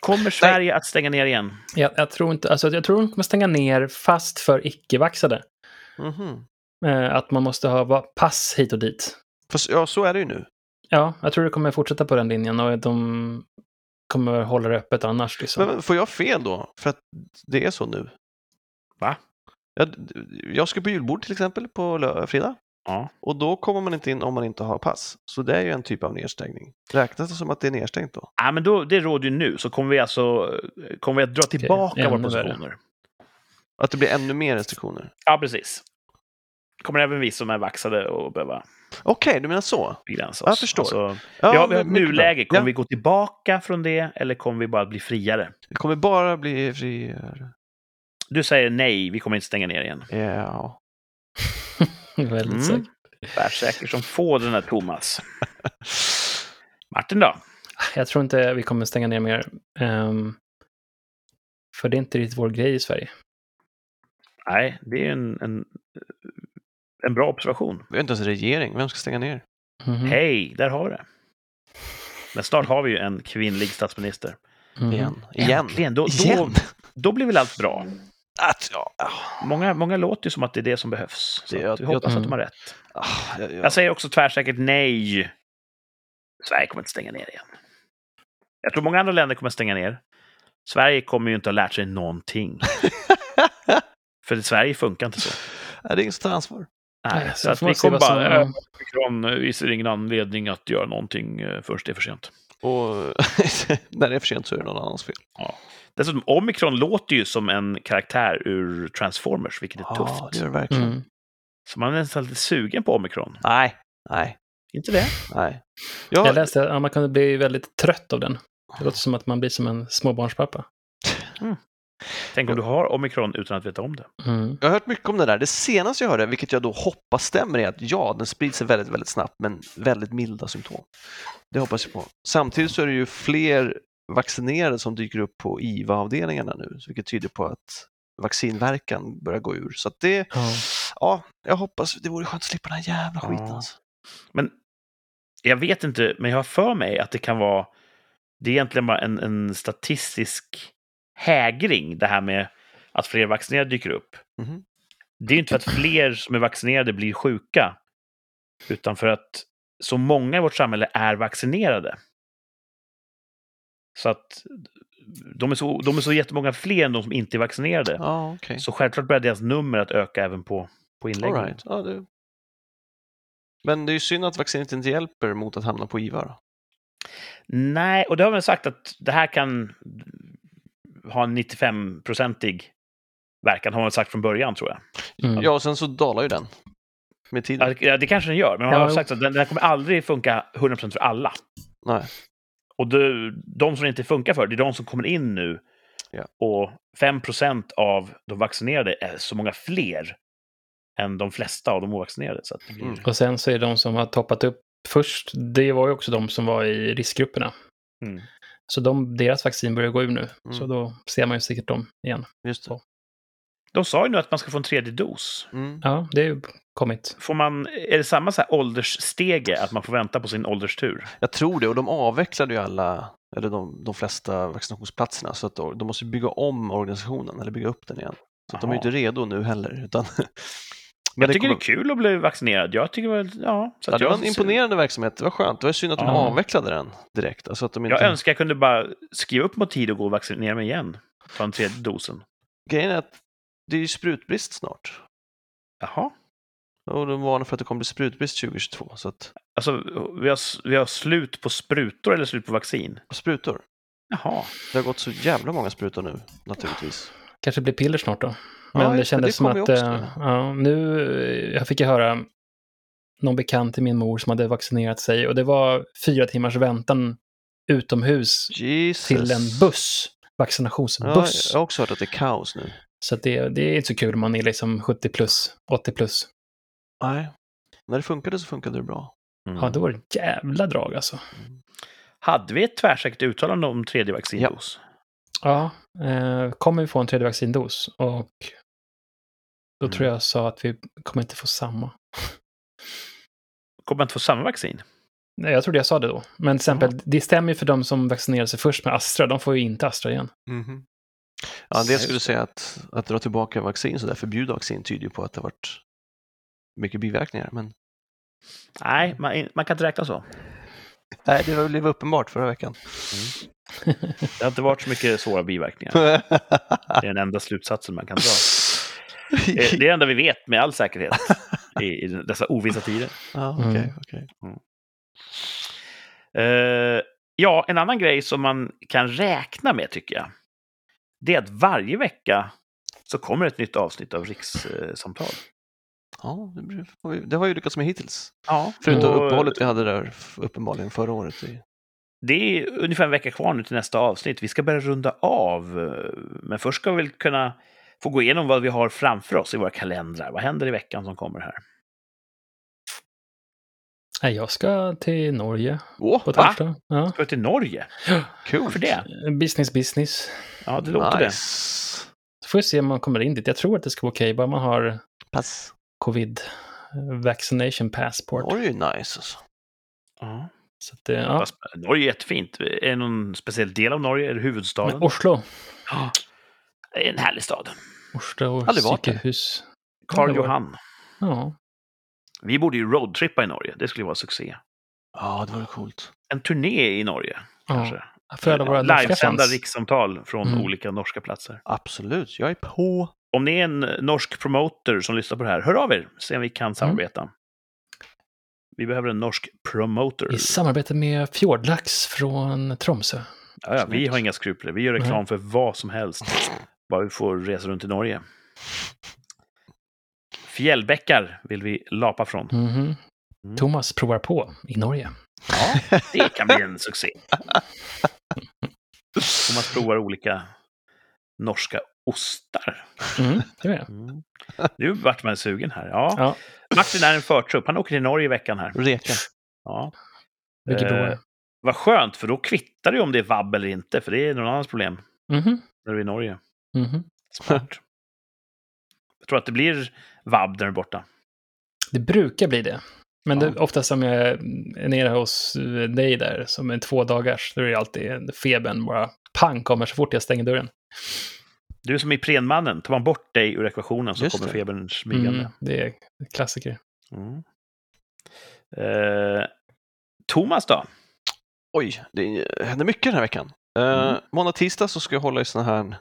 Kommer Sverige att stänga ner igen? Jag, jag tror inte, alltså jag tror de kommer stänga ner fast för icke-vaxxade. mhm. Eh, att man måste ha va- pass hit och dit. Fast, ja, så är det ju nu. Ja, jag tror det kommer fortsätta på den linjen och de kommer hålla det öppet annars. Liksom. Men, men får jag fel då? För att det är så nu. Va? Jag, jag ska på julbord till exempel på lö- fredag. Ja. Och då kommer man inte in om man inte har pass. Så det är ju en typ av nedstängning. Räknas det som att det är nedstängt då? Ja, men då, det råder ju nu, så kommer vi alltså eh, kommer vi att dra tillbaka våra ännu värre. positioner. Att det blir ännu mer restriktioner? Ja, precis. Kommer även vi som är vaxade att behöva Okej, du menar så? begränsa oss. Jag förstår. Alltså, ja, vi har ett mycket bra. nuläge. Kommer Ja, vi gå tillbaka från det eller kommer vi bara att bli friare? Det kommer bara bli friare. Du säger nej, vi kommer inte stänga ner igen. eh, Ja. Väldigt Mm. säkert. Tvärsäker som få den här Thomas. Martin då? Jag tror inte vi kommer stänga ner mer. ehm, för det är inte riktigt vår grej i Sverige. Nej, det är en, en, en bra observation. Vi har inte ens en regering. Vem ska stänga ner? Mhm. Mm. Hej, där har vi det. Men snart har vi ju en kvinnlig statsminister. Mhm. Igen. Igen. Äntligen! Då, då, Igen. då blir väl allt bra. Att, ja. ah, Många, många låter ju som att det är det som behövs. Så Det- att vi jag- hoppas jag- att de har rätt. ah, ja, ja. Alltså- Jag säger också tvärsäkert nej. Sverige kommer inte stänga ner igen. Jag tror många andra länder kommer stänga ner. Sverige kommer ju inte ha lärt sig någonting. För i Sverige funkar inte så. Nej, det är ingen som tar ansvar. Nej, så får att man vi se kommer vad som- bara... eh, Som... Vi ser ingen anledning att göra någonting eh, först det är för sent. Och när det är för sent så är det någon annans fel. Dessutom, Omikron låter ju som en karaktär ur Transformers, vilket är Ja, tufft. Ah, det gör det verkligen. Mm. Så man är nästan lite sugen på Omikron. Nej, nej, Inte det? nej. Jag Jag, läste att man kunde bli väldigt trött av den. Det låter som att man blir som en småbarnspappa. Tänk om du har Omikron utan att veta om det. Mm. jag har hört mycket om det där. Det senaste jag hörde, vilket jag då hoppas stämmer, är att ja, den sprids sig väldigt, väldigt snabbt, men väldigt milda symptom. Det hoppas jag på. Samtidigt så är det ju fler vaccinerade som dyker upp på IVA-avdelningarna nu, vilket tyder på att vaccinverkan börjar gå ur. Så att det, Ja. ja, jag hoppas, det vore skönt att slippa den här jävla skiten Ja. alltså. Men jag vet inte, men jag har för mig att det kan vara... Det är egentligen bara en, en statistisk hägring, det här med att fler vaccinerade dyker upp. Mhm. Det är ju inte för att fler som är vaccinerade blir sjuka, utan för att så många i vårt samhälle är vaccinerade. Så att de är så, de är så jättemånga fler än de som inte är vaccinerade. Ja, okej. Så självklart börjar deras nummer att öka även på, på All inläggningen. right. ja, det... Men det är ju synd att vaccinet inte hjälper mot att hamna på IVA. Då. Nej, och det har man sagt att det här kan ha en 95-procentig verkan, har man sagt från början tror jag. Mm. Ja, och sen så dalar ju den med tiden. Ja, det- Ja, det kanske den gör, men man har Ja, sagt att den, den kommer aldrig funka 100% för alla. Nej. Och de, de som det inte funkar för, det är de som kommer in nu. Ja. Och 5% av de vaccinerade är så många fler än de flesta av de ovaccinerade. Så att det blir... Mm. Och sen så är de som har toppat upp först, det var ju också de som var i riskgrupperna. Mm. Så de, deras vaccin börjar gå ur nu, Mm. så då ser man ju säkert dem igen. Just det. De sa ju nu att man ska få en tredje dos. Mm. Ja, det är ju kommit. Får man, är det samma så här åldersstege, att man får vänta på sin ålderstur? Jag tror det, och de avvecklade ju alla, eller de, de flesta vaccinationsplatserna, så att då- de måste bygga om organisationen, eller bygga upp den igen. Så att de är ju Jaha. inte redo nu heller. Utan... Men Jag tycker det är kul att bli vaccinerad. Jag tycker väl, ja. Så Ja, att det var en jag, imponerande verksamhet, det var skönt. Det var synd att de Ja. avvecklade den direkt. Alltså att de inte... jag önskar jag kunde bara skriva upp mig tid och gå och vaccinera mig igen. Ta den tredje dosen. Grejen är att det är ju sprutbrist snart. Jaha. Och de varnar för att det kommer bli sprutbrist 2022. Så att... Alltså, vi har, vi har slut på sprutor eller slut på vaccin? och Sprutor. Jaha. Det har gått så jävla många sprutor nu, naturligtvis. Kanske blir piller snart då. Ja, Men det just det, kändes det som kommer ju att... också. eh, Ja, nu eh, jag fick jag höra någon bekant till min mor som hade vaccinerat sig och det var fyra timmars väntan utomhus Jesus. till en buss. Vaccinationsbuss. Ja, jag har också hört att det är kaos nu. Så att det, det är inte så kul om man är liksom 70 plus, 80 plus. Nej. När det funkade så funkade det bra. Mm. Ja, då var det ett jävla drag alltså. Hade vi ett tvärsäkert uttalande om tredje vaccindos? Ja, eh, kommer vi få en tredje vaccindos? Och då Mm. tror jag sa att vi kommer inte få samma. Kommer man inte få samma vaccin? Nej, jag trodde jag sa det då. Men till exempel, det stämmer ju för de som vaccinerade sig först med Astra. De får ju inte Astra igen. Mhm. Ja, det Just skulle säga att, att dra tillbaka vaccin, så där förbjuda vaccin tyder ju på att det har varit mycket biverkningar. Men Nej, man, man kan inte räkna så. nej, det var det var uppenbart förra veckan. Det har inte varit så mycket svåra biverkningar. Eh, Det är den enda slutsatsen man kan dra. Det är Eh, det enda vi vet med all säkerhet i, i dessa ovissa tider. ja, okej, Mm. okej. Eh, ja, en annan grej som man kan räkna med tycker jag. Det är att varje vecka så kommer ett nytt avsnitt av Rikssamtal. Ja, det blir- får vi- det har vi ju lyckats med hittills. Ja, Förutom och uppehållet vi hade där f- uppenbarligen förra året. i- Det är ungefär en vecka kvar nu till nästa avsnitt. Vi ska börja runda av. eh, Men först ska vi väl kunna få gå igenom vad vi har framför oss i våra kalendrar. Vad händer i veckan som kommer här? Nej, jag ska till Norge Åh, på Va? torsdag. Ja. Ska vi till Norge? kul! Varför det? Business, business. Ja, det låter det. nice. Så får vi se om man kommer in dit. Jag tror att det ska vara okej, bara man har Pass. covid vaccination passport. Norge är ju nice alltså. Ja. Så att, det- ja. Fast eh, Norge är jättefint. Är det någon speciell del av Norge? Är det huvudstaden? Men Oslo. Ja. Det är en härlig stad. Oslo och Aldrig varit där. Sykehus. Karl det var- Johan. Ja. Vi borde ju roadtrippa i Norge. Det skulle vara succé. Ja, det var ju coolt. En turné i Norge, ja. kanske. För alla våra norska Livesända fans. rikssamtal från Mm. olika norska platser. Absolut, jag är på. Om ni är en eh, norsk promoter som lyssnar på det här, hör av er. Se om vi Mm. kan samarbeta. Vi behöver en norsk promoter. I samarbete med Fjordlax från Tromsö. Ja, ja, vi har inga skrupler. Vi gör reklam Nej. för vad som helst. Bara vi får resa runt i Norge. Fjällbäckar vill vi lapa från. Mhm. Mm. Thomas provar på i Norge. Det kan bli en succé. Thomas provar olika norska ostar. Mm, det är det. Nu vart man sugen här. Ja. Ja. Martin är en förtrupp. Han åker till Norge i veckan här. Reka. Ja. Vilket då Eh, är. Vad skönt, för då kvittar det ju om det är vabb eller inte, för det är någon annans problem Mhm, när du är i Norge. mhm. Smart. Jag tror att det blir vabb där borta. Det brukar bli det. Men Ja. det, ofta som jag är nere hos eh, dig där, som är två dagars, då är det alltid febern bara pang kommer så fort jag stänger dörren. Du är som Iprenmannen, tar man bort dig ur ekvationen så Just kommer det. febern smygande. Mm, det är klassiker. Mm. Eh, Thomas då? Oj, det händer mycket den här veckan. Eh, Mm. måndag, tisdag så ska jag hålla i sådana här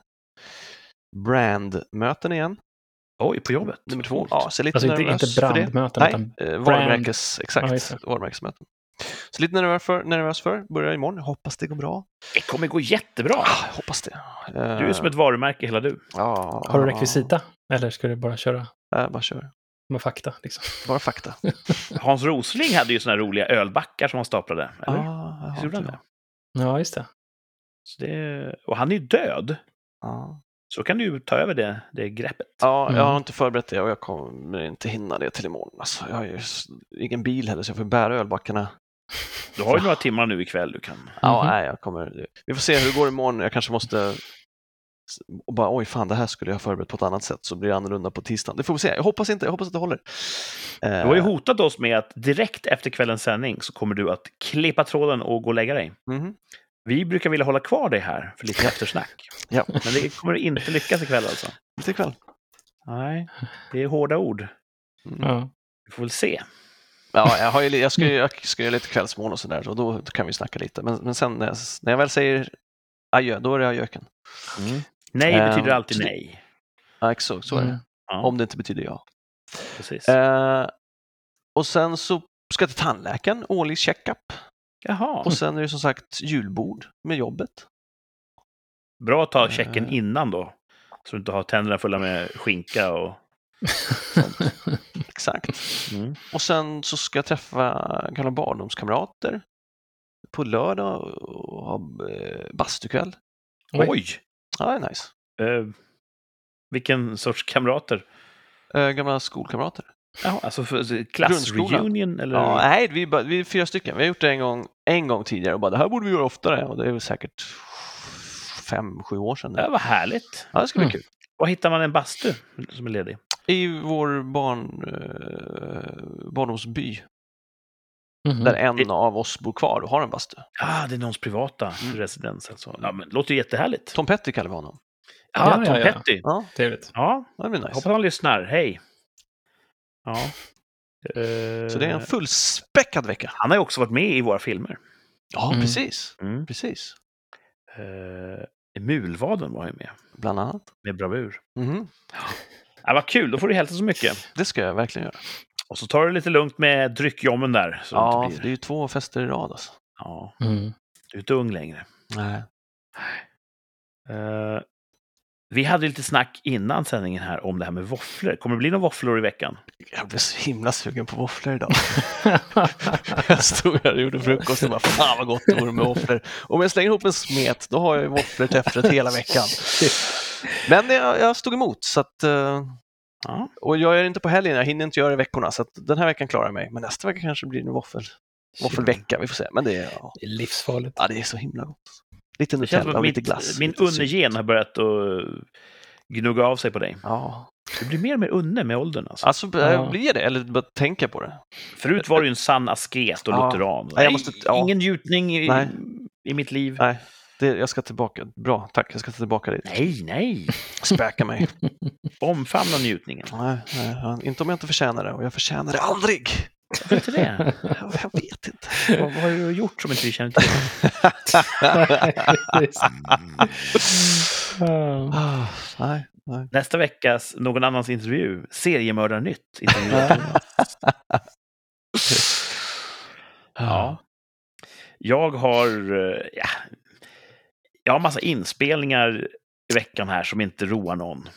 brandmöten igen. Oj, på jobbet. Nummer två. Ja, så jag är lite Alltså inte, nervös inte för det. brandmöten, utan... Nej, eh, varumärkes, Ja, exakt. just det. varumärkesmöten. Så lite nervös för, nervös för. Börjar imorgon. Jag Hoppas det går bra. Det kommer gå jättebra. Ah, jag hoppas det. Eh, Du är som ett varumärke hela du. ja, Har du rekvisita? Eller ska du bara köra Nej, bara kör. med fakta? Liksom? Bara fakta. Hans Rosling hade ju såna här roliga ölbackar som han staplade. Ah, Eller? jag Visst har gjorde han inte- det? Ja, just det. Så det? Och han är ju död, Ja, så kan du ju ta över det, det greppet. Ja, jag har Mm. inte förberett det och jag kommer inte hinna det till imorgon. Alltså, jag har ju s- ingen bil heller så jag får bära ölbackarna Du har ju några timmar nu ikväll du kan... Ja, Mhm. nej, jag kommer... Vi får se hur det går imorgon. Jag kanske måste s- och bara oj fan, det här skulle jag ha förberett på ett annat sätt så blir det annorlunda på tisdagen. Det får vi se. Jag hoppas inte, jag hoppas att det håller. Eh, Du har ju hotat oss med att direkt efter kvällens sändning så kommer du att klippa tråden och gå och lägga dig. Mhm. Vi brukar vilja hålla kvar dig här för lite eftersnack. Ja. Men det kommer inte lyckas ikväll alltså. Lite ikväll. Nej, det är hårda ord. Mm. Ja. Ja. Vi får väl se. jag, har ju, li- jag, ska ju, jag ska göra lite kvällsmål och sådär och då, då kan vi snacka lite. Men, men sen när jag, s- när jag väl säger adjö, då är det adjöken. Nej Ehm, betyder alltid så- nej. Ja, exakt, så är Mm. det. Ja, Om det inte betyder ja. precis. Eh, och sen så ska jag till tandläkaren, årlig checkup. Jaha, Och sen är det som sagt julbord med jobbet. bra att ta checken Eh. innan då. Så du inte har tänderna fulla med skinka och... Exakt. Mm. Och sen så ska jag träffa gamla barndomskamrater på lördag och ha eh, bastukväll. Oj! Oj. Ja, det är nice. Eh, vilken sorts kamrater? Eh, Gamla skolkamrater. Jaha, alltså för klassreunion eller? Ja, nej, vi, är bara, vi är fyra stycken. Vi har gjort det en gång, en gång tidigare och bara det här borde vi göra oftare och det är väl säkert fem, sju år sedan. nu. ja, vad härligt. Ja, det ska bli Mm. kul. Var hittar man en bastu som är ledig? I vår barn, eh, barndomsby, Mhm. där en av oss bor kvar och har en bastu. Ah, det är någons privata Mm. residens. Alltså. Ja, men det låter ju jättehärligt. Tom Petty kallar vi honom. ah, Ja, Tom ja, ja. Petty. Ja, Trevligt. Ja, det blir nice. hoppas han lyssnar. Hej. Ja. Eh, Så det är en fullspäckad vecka. Han har ju också varit med i våra filmer. Ja, Mm. precis. Mm. Precis. Eh, Mulvaden var ju med, Bland annat. med bravur. Mhm. Ah, vad kul, då får du hälsa så mycket. Det ska jag verkligen göra. Och så tar du lite lugnt med dryckjommen där. Så det Ja, inte för blir... det är ju två fester i rad alltså. ja, Mm. du är inte ung längre. Nej. Eh, vi hade lite snack innan sändningen här om det här med våfflor. Kommer det bli några våfflor i veckan? Jag blev så himla sugen på våfflor idag. Jag stod här och gjorde frukost och bara fan vad gott det vore med våfflor. Om jag slänger ihop en smet då har jag ju våfflor till efterrätt hela veckan. Men jag, jag stod emot så att, eh, Ja. och jag är inte på helgen, jag hinner inte göra det i veckorna så att den här veckan klarar jag mig. Men nästa vecka kanske det blir en våffel, våffelvecka, vi får se. Men det är, ja, Det är livsfarligt. ja, det är så himla gott. Lite Det känns som Nutella att och lite mitt, glass. min lite sylt. unne-gen har börjat att gnugga av sig på dig. Ja, Du blir mer och mer unne med åldern. Alltså. alltså Ja. blir det, eller bara tänka på det. Förut var du ju en sann asket och Ja. lutheran. Nej, jag måste- ja. Ingen njutning i, Nej. i mitt liv. Nej. det. Jag ska tillbaka, bra tack, jag ska tillbaka dit. Nej, nej. Späka mig. Omfamna njutningen. Nej, nej, ja, inte om jag inte förtjänar det och jag förtjänar det aldrig. Varför inte det? Jag, jag vet inte. vad, vad har du gjort som inte vi känner till? Ja. Ah, nej, nej. Nästa veckas Någon annans intervju, Seriemördarnytt. intervjuar Thomas. Ja. Jag har... eh, Ja, jag har massa inspelningar i veckan här som inte roar någon.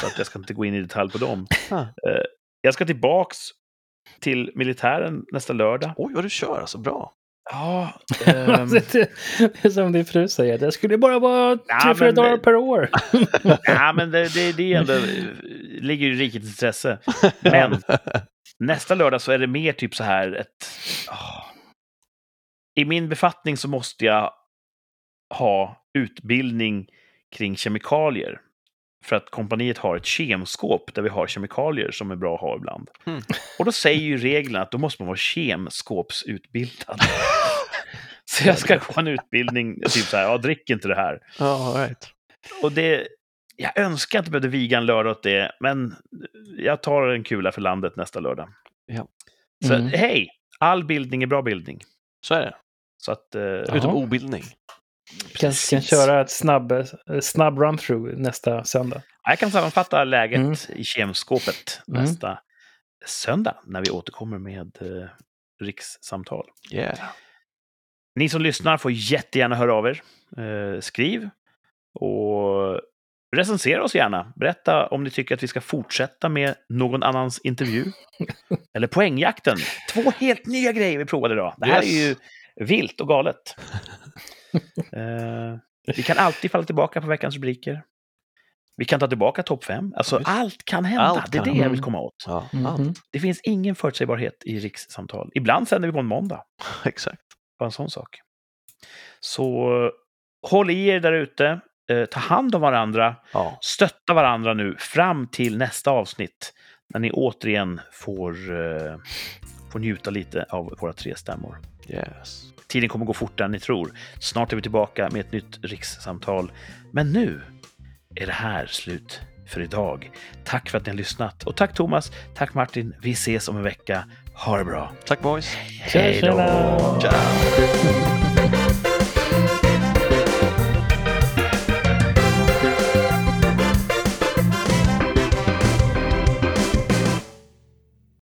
Så att jag ska inte gå in i detalj på dem. Ah. Eh, Jag ska tillbaks till militären nästa lördag. Oj, vad du kör alltså, bra. Ja, ehm, Alltså, det är som din fru säger, det skulle bara vara Ja, tre, fyra men- dagar per år. ja, men det, det, det är ändå, ligger ju i rikets intresse. Men nästa lördag så är det mer typ så här ett... ah. I min befattning så måste jag ha utbildning kring kemikalier. För att kompaniet har ett kemskåp där vi har kemikalier som är bra att ha ibland. Mm. Och då säger ju reglerna att då måste man vara kemskåpsutbildad. så jag ska gå en utbildning, typ så här, ja, drick inte det här. Ja, all right. Och det, jag önskar att jag behövde viga en lördag åt det, men jag tar en kula för landet nästa lördag. Ja. Så Mm. hej, all bildning är bra bildning. Så är det. Så att, eh, Utom Ja. obildning. Kan, kan precis. köra ett snabb, eh, snabb run-through nästa söndag. Jag kan sammanfatta läget Mm. i kemskåpet Mm. nästa söndag när vi återkommer med eh, rikssamtal. Yeah. Ni som lyssnar får jättegärna höra av er. Eh, skriv och recensera oss gärna. Berätta om ni tycker att vi ska fortsätta med någon annans intervju. Eller poängjakten. Två helt nya grejer vi provade idag. Det här Yes. är ju vilt och galet. Eh, vi kan alltid falla tillbaka på veckans rubriker. Vi kan ta tillbaka topp fem. Alltså, Visst. allt kan hända. Allt det är kan det jag hända. vill komma åt. Ja, Mhm. allt. Det finns ingen förutsägbarhet i rikssamtal. Ibland sänder vi på en måndag Exakt. bara en sån sak. Så eh, håll i er där ute. Eh, ta hand om varandra. Ja. Stötta varandra nu fram till nästa avsnitt. När ni återigen får, eh, får njuta lite av våra tre stämmor. Yes. Tiden kommer gå fortare än ni tror. Snart är vi tillbaka med ett nytt rikssamtal. Men nu är det här slut för idag. Tack för att ni har lyssnat. Och tack Thomas, tack Martin. Vi ses om en vecka. Ha det bra. Tack boys. Tjena, Hej då! tjena. Ciao.